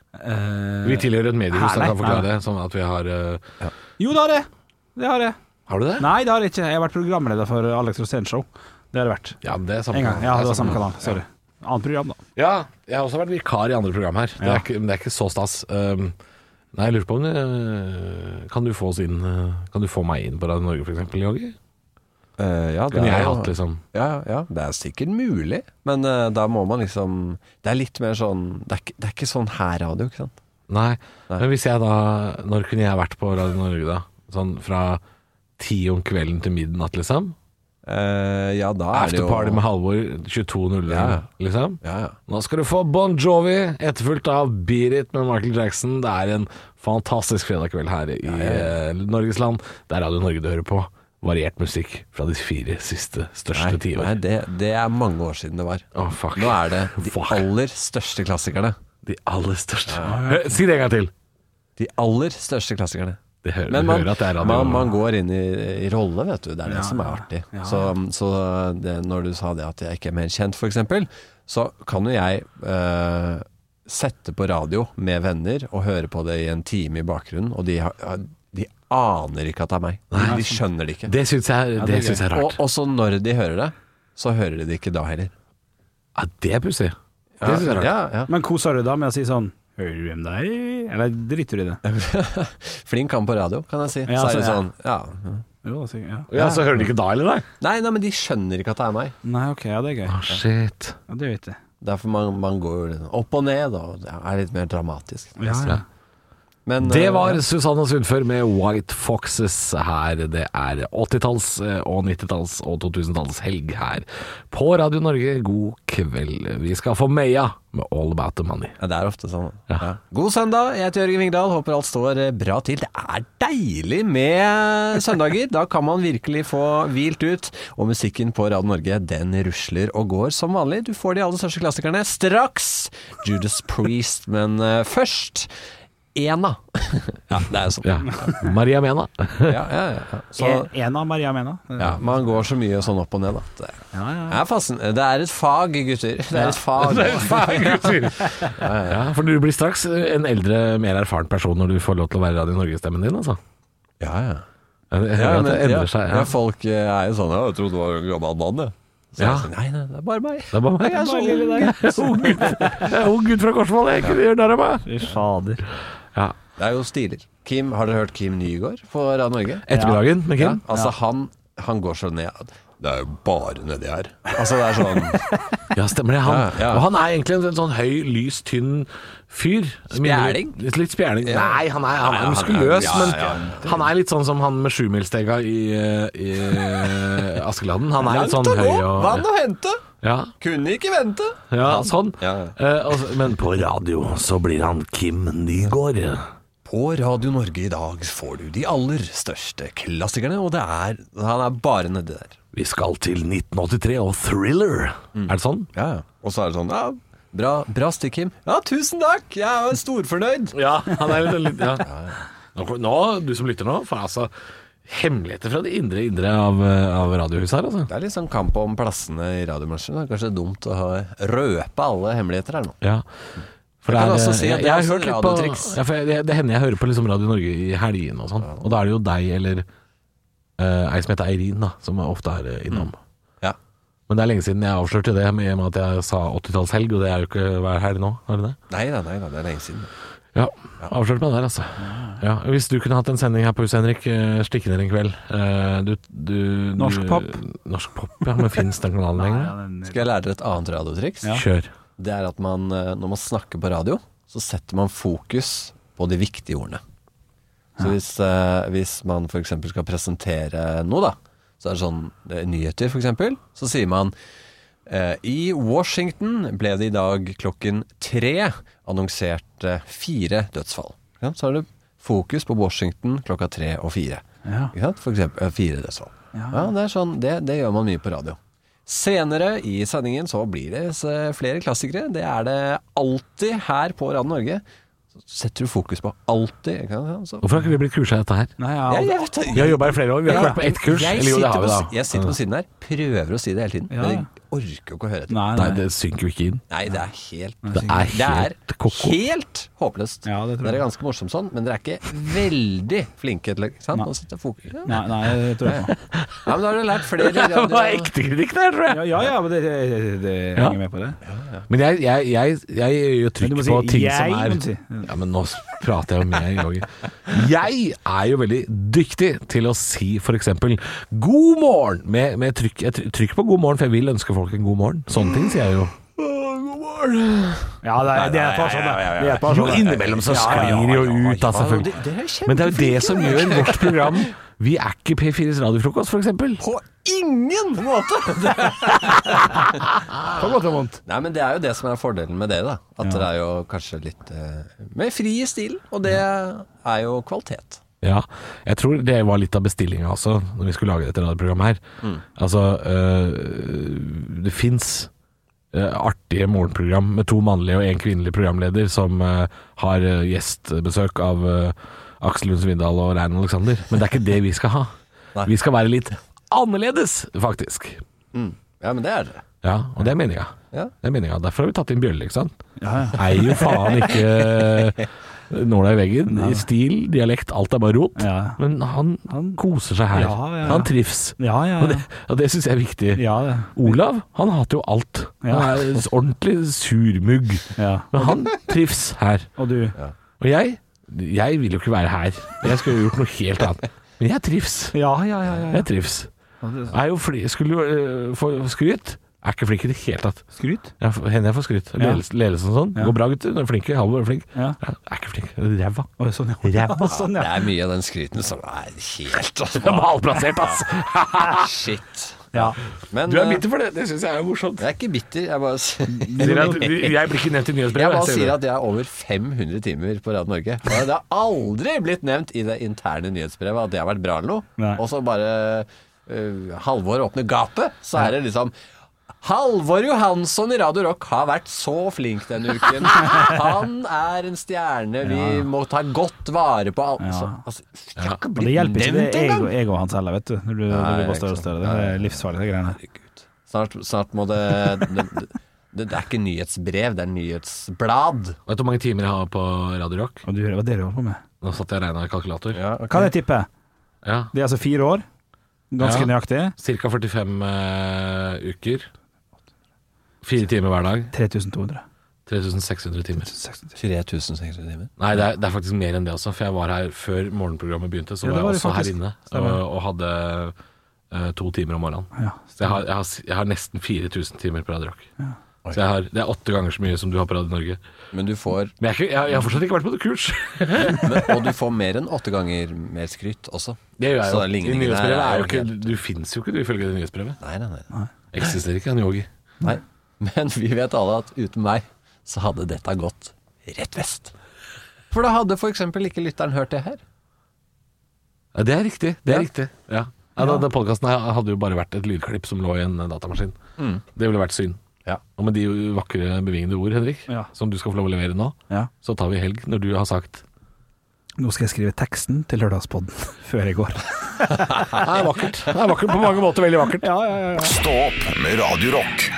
Speaker 3: Vi
Speaker 4: Eh,
Speaker 3: tilhører et mediehus,
Speaker 4: Her,
Speaker 3: da
Speaker 4: nei,
Speaker 3: kan jeg forklare
Speaker 4: nei.
Speaker 3: det. Sånn at vi har eh,
Speaker 4: jo, det har jeg. Det har jeg.
Speaker 3: Har du det?
Speaker 4: Nei, det har jeg ikke. Jeg har vært programleder for Alex Rosén Show. Det har jeg vært.
Speaker 3: Ja, men det er samme
Speaker 4: En gang.
Speaker 3: kanal.
Speaker 4: Ja,
Speaker 3: er
Speaker 4: det var samme kanal. Sorry. Annet program, da.
Speaker 3: Ja, jeg har også vært vikar i andre program her. Det
Speaker 4: Ja.
Speaker 3: er ikke, men det er ikke så stas. Um, nei, jeg lurer på om eh, Kan du få oss inn eh, Kan du få meg inn på Radio Norge, for eksempel, Yogi?
Speaker 6: Eh, ja, det
Speaker 3: Kunne
Speaker 6: er
Speaker 3: jeg
Speaker 6: jo-
Speaker 3: hatt liksom
Speaker 6: Ja, ja, det er sikkert mulig, men eh, da må man liksom Det er litt mer sånn Det er, ikke- det er ikke sånn her radio, ikke sant?
Speaker 3: Nei.
Speaker 6: Nei.
Speaker 3: Men hvis jeg da Når kunne jeg vært på Radio Norge, da? Sånn fra ti om kvelden til midnatt, liksom?
Speaker 6: Eh, ja, da er det jo
Speaker 3: Afterparty med Halvor 22.00,
Speaker 6: Ja.
Speaker 3: liksom.
Speaker 6: Ja, ja.
Speaker 3: Nå skal du få Bon Jovi, etterfulgt av Beat It med Michael Jackson. Det er en fantastisk fredagskveld her i eh, Norges land. Det er Radio Norge du hører på. Variert musikk fra de fire siste største
Speaker 6: Nei, nei
Speaker 3: tiår.
Speaker 6: det, det er mange år siden det var.
Speaker 3: Å, fuck.
Speaker 6: Nå er det de
Speaker 3: Fuck.
Speaker 6: aller største klassikerne.
Speaker 3: De aller største. Hør, Si det en gang til!
Speaker 6: De aller største klassikerne.
Speaker 3: De hører,
Speaker 6: Men man,
Speaker 3: hører at det er radio.
Speaker 6: man, man går inn i, i rolle, vet du. Det er det som er artig.
Speaker 4: ja, ja.
Speaker 6: Så, så det, når du sa det at jeg ikke er mer kjent, f.eks., så kan jo jeg eh, sette på radio med venner og høre på det i en time i bakgrunnen, og de, har, de aner ikke at det er meg. De, de skjønner det ikke.
Speaker 3: det syns jeg, det
Speaker 4: det er
Speaker 3: syns jeg er
Speaker 6: Og
Speaker 3: rart.
Speaker 6: også når de hører det, så hører de det ikke da heller.
Speaker 3: Ja, det er pussig. Det syns jeg er rart.
Speaker 6: Ja, ja. [laughs]
Speaker 4: Men koser du deg med å si sånn Hører du hvem det er? Eller driter du i det?
Speaker 6: Flink han på radio, kan jeg si.
Speaker 4: Ja,
Speaker 6: så er det
Speaker 4: altså,
Speaker 6: sånn, ja.
Speaker 4: Jo, altså, ja.
Speaker 3: Ja, Så hører de ikke da, eller? Nei?
Speaker 6: Nei, nei, men de skjønner ikke at det er meg.
Speaker 4: Nei, ok, ja, det er gøy.
Speaker 3: Å, shit.
Speaker 4: Ja, det vet jeg.
Speaker 6: Derfor man, man går jo litt opp og ned, og det er litt mer dramatisk.
Speaker 4: Ja, ja.
Speaker 6: Men,
Speaker 3: Det
Speaker 6: eh,
Speaker 3: var Susanne Sundfør med White Foxes her. Det er 80-talls og 90-talls og 2000-talls helg her på Radio Norge. God kveld. Vi skal få Meya med All About The Money.
Speaker 6: ja, det er ofte sånn. Ja. God søndag, jeg heter Jørgen Vingdal, håper alt står eh, bra til. Det er deilig med søndager, da kan man virkelig få hvilt ut. Og musikken på Radio Norge, den rusler og går som vanlig. Du får de aller største klassikerne straks. Judas Priest, men eh, først Ena. ja, det er sånn. [laughs]
Speaker 3: Ja. Maria Mena.
Speaker 6: Ja, ja, ja. Så,
Speaker 4: En- En av Maria Mena.
Speaker 6: ja, man går så mye sånn opp og ned at det
Speaker 4: Ja, ja.
Speaker 6: Det er, fasen, det er et fag, gutter. Det er et fag. [laughs]
Speaker 3: Ja, for du blir straks en eldre, mer erfaren person når du får lov til å være Radio Norge-stemmen din, altså.
Speaker 6: Ja, ja.
Speaker 3: Jeg hører
Speaker 6: Ja,
Speaker 3: at det
Speaker 6: men, ja,
Speaker 3: endrer seg.
Speaker 6: ja,
Speaker 3: Ja.
Speaker 6: folk eh, er jo sånn «Ja, 'Jeg trodde du var en gammel mann', jeg. Så
Speaker 3: Ja.
Speaker 6: jeg sier, nei, nei, det er bare meg.
Speaker 3: Det er bare meg.
Speaker 6: [laughs] Jeg er så ung.
Speaker 3: Jeg er ung gutt. Jeg er ung gutt fra Korsvoll, jeg kunne gjøre narr av meg.
Speaker 4: Fy fader.
Speaker 3: Ja.
Speaker 6: Det er jo stiler. Kim, har dere hørt Kim Nygaard på Radio Norge?
Speaker 3: Ettermiddagen med
Speaker 6: Ja,
Speaker 3: Kim.
Speaker 6: altså, han, han går så ned Det er jo bare nedi her. Altså, det er [laughs] sånn
Speaker 3: Ja, stemmer det. Han,
Speaker 6: Ja, ja.
Speaker 3: Og han er egentlig en sånn høy, lys, tynn fyr.
Speaker 6: Spjæling?
Speaker 3: Litt, litt spjæling. Nei, han er, han
Speaker 6: Nei,
Speaker 3: er
Speaker 6: han er-
Speaker 3: muskuløs,
Speaker 6: ja,
Speaker 3: men
Speaker 6: ja,
Speaker 3: han er litt sånn som han med sjumilsstega i, eh, i eh, Askeladden. Han er litt sånn
Speaker 6: å
Speaker 3: høy
Speaker 6: gå! Vann
Speaker 3: og
Speaker 6: å hente!
Speaker 3: ja,
Speaker 6: Kunne ikke vente!
Speaker 3: ja, sånn.
Speaker 6: Ja,
Speaker 3: Eh, og så- men på radio så blir han Kim Nygaard.
Speaker 6: På Radio Norge i dag får du de aller største klassikerne, og det er Han er bare nedi der.
Speaker 3: Vi skal til 1983 og Thriller.
Speaker 6: Mm.
Speaker 3: Er det sånn?
Speaker 6: Ja, ja. Og så er det sånn ja, Bra, bra stikk, Kim. Ja, tusen takk! Jeg er jo storfornøyd.
Speaker 3: Ja, [laughs] han er litt, litt ja. Nå, nå, du som lytter nå, får altså hemmeligheter fra det indre indre av, eh, av radiohuset her, altså.
Speaker 6: Det er litt sånn kamp om plassene i radiobransjen. Det er kanskje dumt å ha- røpe alle hemmeligheter her nå.
Speaker 3: Ja. For
Speaker 6: Jeg
Speaker 3: det
Speaker 6: kan
Speaker 3: er, eh,
Speaker 6: også si at
Speaker 3: jeg,
Speaker 6: det
Speaker 3: jeg
Speaker 6: er
Speaker 3: har
Speaker 6: også
Speaker 3: hørt litt på
Speaker 6: radiotriks.
Speaker 3: ja, for jeg, det- Det hender jeg hører på liksom Radio Norge i helgene og sånn. Og da er det jo deg eller eh, ei som heter Eirin, da, som jeg ofte er eh, innom.
Speaker 6: Ja.
Speaker 3: Men det er lenge siden jeg avslørte det, med i og med at jeg sa 80-tallshelg, og det er jo ikke hver helg nå. Er det det?
Speaker 6: Nei da, nei da, det er lenge siden.
Speaker 3: Ja. Avslørt meg der, altså. Ja, hvis du kunne hatt en sending her på huset, Henrik, eh, stikk ned en kveld. Eh, Du, du, du
Speaker 4: Norsk pop.
Speaker 3: Norsk pop, ja. Men fins den kanalen lenger?
Speaker 4: [laughs]
Speaker 6: Skal jeg lære dere et annet radiotriks?
Speaker 3: Kjør.
Speaker 6: Det er at man, eh, når man snakker på radio, så setter man fokus på de viktige ordene. Så hvis, eh, hvis man f.eks. skal presentere noe, da, så er det sånn eh, nyheter, f.eks., så sier man eh, I Washington ble det i dag klokken tre annonsert eh, fire dødsfall. Ikke sant? Så har du fokus på Washington klokka tre og fire.
Speaker 4: Ja.
Speaker 6: Ikke sant? For eksempel eh, fire dødsfall. Ja, det, er sånn, det, det gjør man mye på radio. Senere i sendingen så blir det s- eh, flere klassikere. Det er det alltid her på Radio Norge. Så setter du fokus på alltid. Ikke sant? Så,
Speaker 3: Hvorfor har ikke vi blitt kursa i dette her?
Speaker 4: Nei, ja,
Speaker 6: jeg,
Speaker 4: ja,
Speaker 6: jeg vet det.
Speaker 3: Vi har jobba i flere år, vi har ikke vært på ett kurs.
Speaker 6: Jeg
Speaker 3: Eller jo, det
Speaker 6: sitter
Speaker 3: har vi
Speaker 6: på
Speaker 3: da.
Speaker 6: si- Jeg sitter på siden her, prøver å si det hele tiden,
Speaker 4: Ja,
Speaker 6: men
Speaker 4: ja.
Speaker 6: jeg orker jo ikke å høre etter.
Speaker 4: Nei,
Speaker 3: Nei,
Speaker 4: nei.
Speaker 3: det synker jo ikke inn.
Speaker 6: Nei, det er helt
Speaker 3: Det er
Speaker 6: Det er
Speaker 3: helt koko.
Speaker 6: helt håpløst.
Speaker 4: Ja, det tror
Speaker 6: Dere
Speaker 4: jeg.
Speaker 6: er ganske morsomme sånn, men dere er ikke veldig flinke til ikke sant?
Speaker 4: Nei.
Speaker 6: å sette fokus. Ja.
Speaker 4: nei, nei, det tror jeg på.
Speaker 6: Ja, men da har du lært
Speaker 4: [laughs]
Speaker 6: flere
Speaker 3: [laughs] Det var
Speaker 6: radio...
Speaker 3: ekte kritikk der, tror jeg.
Speaker 4: Ja, ja, ja men det, det, det, det
Speaker 3: Ja.
Speaker 4: henger med på det.
Speaker 3: Men jeg, jeg, jeg, jeg gjør jo trykk
Speaker 4: Men du må
Speaker 3: på
Speaker 4: si
Speaker 3: ting
Speaker 4: jeg,
Speaker 3: som er
Speaker 4: må du si.
Speaker 3: Ja, men nå prater jeg jo med Roger. Jeg er jo veldig dyktig til å si f.eks. 'god morgen' med, med trykk. Jeg try- trykker på 'god morgen', for jeg vil ønske folk en god morgen. Sånne ting sier jeg jo.
Speaker 4: Ja, det, er- det er bare sånn, det. det. er bare
Speaker 3: Jo,
Speaker 4: sånn, det.
Speaker 3: innimellom så sklir det jo ut, da,
Speaker 6: Ja, det,
Speaker 3: selvfølgelig.
Speaker 6: det er
Speaker 3: Men det er jo det som gjør vårt program Vi er ikke P4s radiofrokost, f.eks.
Speaker 6: På ingen [laughs] måte!
Speaker 4: På godt og vondt.
Speaker 6: Nei, men det er jo det som er fordelen med det, da. At det er jo kanskje litt eh, mer fri i stilen, og det er jo kvalitet.
Speaker 3: Ja, jeg tror det var litt av bestillinga også, når vi skulle lage dette radioprogrammet her. Altså, øh, det fins artige morgenprogram med to mannlige og én kvinnelig programleder som øh, har øh, gjestbesøk av øh, Aksel Lund Svindal og Rein Alexander. Men det er ikke det vi skal ha.
Speaker 6: Nei.
Speaker 3: Vi skal være litt annerledes, faktisk.
Speaker 6: Ja, men det er det.
Speaker 3: Ja, og det er meninga.
Speaker 6: Ja.
Speaker 3: Det er meninga. Derfor har vi tatt inn Bjølle, ikke sant. [laughs]
Speaker 4: Ja, ja.
Speaker 3: Er jo faen ikke eh, nåla i veggen. I stil, dialekt, alt er bare rot.
Speaker 4: Ja.
Speaker 3: Men han, koser seg her.
Speaker 4: Ja, ja, ja.
Speaker 3: Han trivs.
Speaker 4: Ja, ja,
Speaker 3: Og det,
Speaker 4: ja.
Speaker 3: og det syns jeg er viktig.
Speaker 4: ja, det.
Speaker 3: Olav, han hater jo alt.
Speaker 4: Ja.
Speaker 3: Han er ordentlig surmugg.
Speaker 4: ja.
Speaker 3: Men han trivs her.
Speaker 4: Og du?
Speaker 3: Og jeg, jeg vil jo ikke være her. Jeg skulle jo gjort noe helt annet. Men jeg trivs.
Speaker 4: Ja, ja, ja. ja, ja.
Speaker 3: Jeg trivs. Er jo fli, skulle jo øh, få skryt. Er ikke flink i det hele tatt.
Speaker 4: Skryt?
Speaker 3: Jeg får- Hender jeg får skryt. Ledelsen ledelsen og sånn.
Speaker 4: Ja.
Speaker 3: Går bra, gutter. Du er flink. Halvor er flink.
Speaker 4: Ja.
Speaker 3: Jeg er ikke flink. Ræva.
Speaker 4: Å, sånn, ja.
Speaker 3: Ræva.
Speaker 4: [laughs] Sånn,
Speaker 6: Det
Speaker 4: ja.
Speaker 6: er mye av den skryten som er
Speaker 4: [laughs]
Speaker 6: helt altså,
Speaker 3: Malplassert, ass.
Speaker 6: Shit.
Speaker 4: ja.
Speaker 6: Men
Speaker 3: Du er
Speaker 6: eh,
Speaker 3: bitter for det. Det syns jeg er morsomt.
Speaker 6: jeg er ikke bitter. Jeg bare, s- jeg
Speaker 3: Sier at du- Jeg blir ikke nevnt i nyhetsbrevet.
Speaker 6: bare
Speaker 3: jeg
Speaker 6: sier
Speaker 3: det.
Speaker 6: at jeg er over 500 timer på Radio Norge. Og Det har aldri blitt nevnt i det interne nyhetsbrevet at det har vært bra eller noe.
Speaker 4: Nei.
Speaker 6: Og så bare eh, Halvor åpner gapet, så er det liksom Halvor Johansson i Radio Rock har vært så flink denne uken. Han er en stjerne. Vi må ta godt vare på alle. Så, altså, jeg har ikke
Speaker 4: Og det
Speaker 6: blitt
Speaker 4: hjelper ikke det
Speaker 6: nevnt
Speaker 4: er ego,
Speaker 6: engang!
Speaker 4: ego hans heller, vet du. Når du, når du
Speaker 6: Nei,
Speaker 4: går større og
Speaker 6: ikke sant.
Speaker 4: større. Det er livsfarlig, de greiene.
Speaker 6: Herregud. Snart, snart må det det, det det er ikke nyhetsbrev, det er nyhetsblad.
Speaker 3: Vet du hvor mange timer jeg har på Radio Rock?
Speaker 4: Og du, hva er det du holder på med?
Speaker 3: Nå satt jeg og regna i kalkulator. Ja.
Speaker 4: Kan jeg tippe? De er altså fire år. Ganske
Speaker 3: Ja.
Speaker 4: nøyaktig.
Speaker 3: Cirka 45 eh, uker. Fire timer hver dag.
Speaker 4: 3200.
Speaker 3: 3600 timer.
Speaker 6: 3600 timer.
Speaker 3: Nei, det er, det er faktisk mer enn det også. For jeg var her før morgenprogrammet begynte. Så
Speaker 4: Ja, det
Speaker 3: var
Speaker 4: var
Speaker 3: jeg
Speaker 4: det
Speaker 3: også her
Speaker 4: faktisk.
Speaker 3: inne og,
Speaker 4: Stemmer.
Speaker 3: og hadde eh, to timer om morgenen.
Speaker 4: Ja.
Speaker 3: Så jeg har, jeg har, s- jeg har nesten 4000 timer på Radio Rock. Så jeg har, det er åtte ganger så mye som du har på Radio Norge.
Speaker 6: Men du får
Speaker 3: Men jeg, er ikke, jeg, jeg har fortsatt ikke vært på noe kurs.
Speaker 6: men, [laughs] Og du får mer enn åtte ganger mer skryt også.
Speaker 3: [laughs] Det gjør jeg
Speaker 6: Så
Speaker 3: jo. I
Speaker 6: ligningen her
Speaker 3: nyhetsbrevet
Speaker 6: er
Speaker 3: er
Speaker 6: jo
Speaker 3: jo ikke
Speaker 6: helt-
Speaker 3: Du fins jo ikke, du, ifølge det nyhetsbrevet.
Speaker 6: Nei, nei, nei.
Speaker 3: Eksisterer ikke han yogi.
Speaker 6: nei. Men vi vet alle at uten meg så hadde dette gått rett vest. For da hadde f.eks. ikke lytteren hørt det her.
Speaker 3: Ja, det er riktig. Det er
Speaker 6: Ja.
Speaker 3: riktig. Ja. Ja, da, Den podkasten hadde jo bare vært et lydklipp som lå i en eh, datamaskin. Det ville vært synd.
Speaker 6: Mm. Ja.
Speaker 3: Og med de vakre, bevingede ord, Henrik,
Speaker 4: Ja.
Speaker 3: som du skal få lov å levere nå,
Speaker 4: Ja.
Speaker 3: så tar vi helg når du har sagt
Speaker 4: Nå skal jeg skrive teksten til lørdagspodden [laughs] før jeg går.
Speaker 3: Det er vakkert. Det er vakkert på mange måter. Veldig vakkert.
Speaker 4: Ja, ja, ja.
Speaker 1: Stå opp med Radio Rock.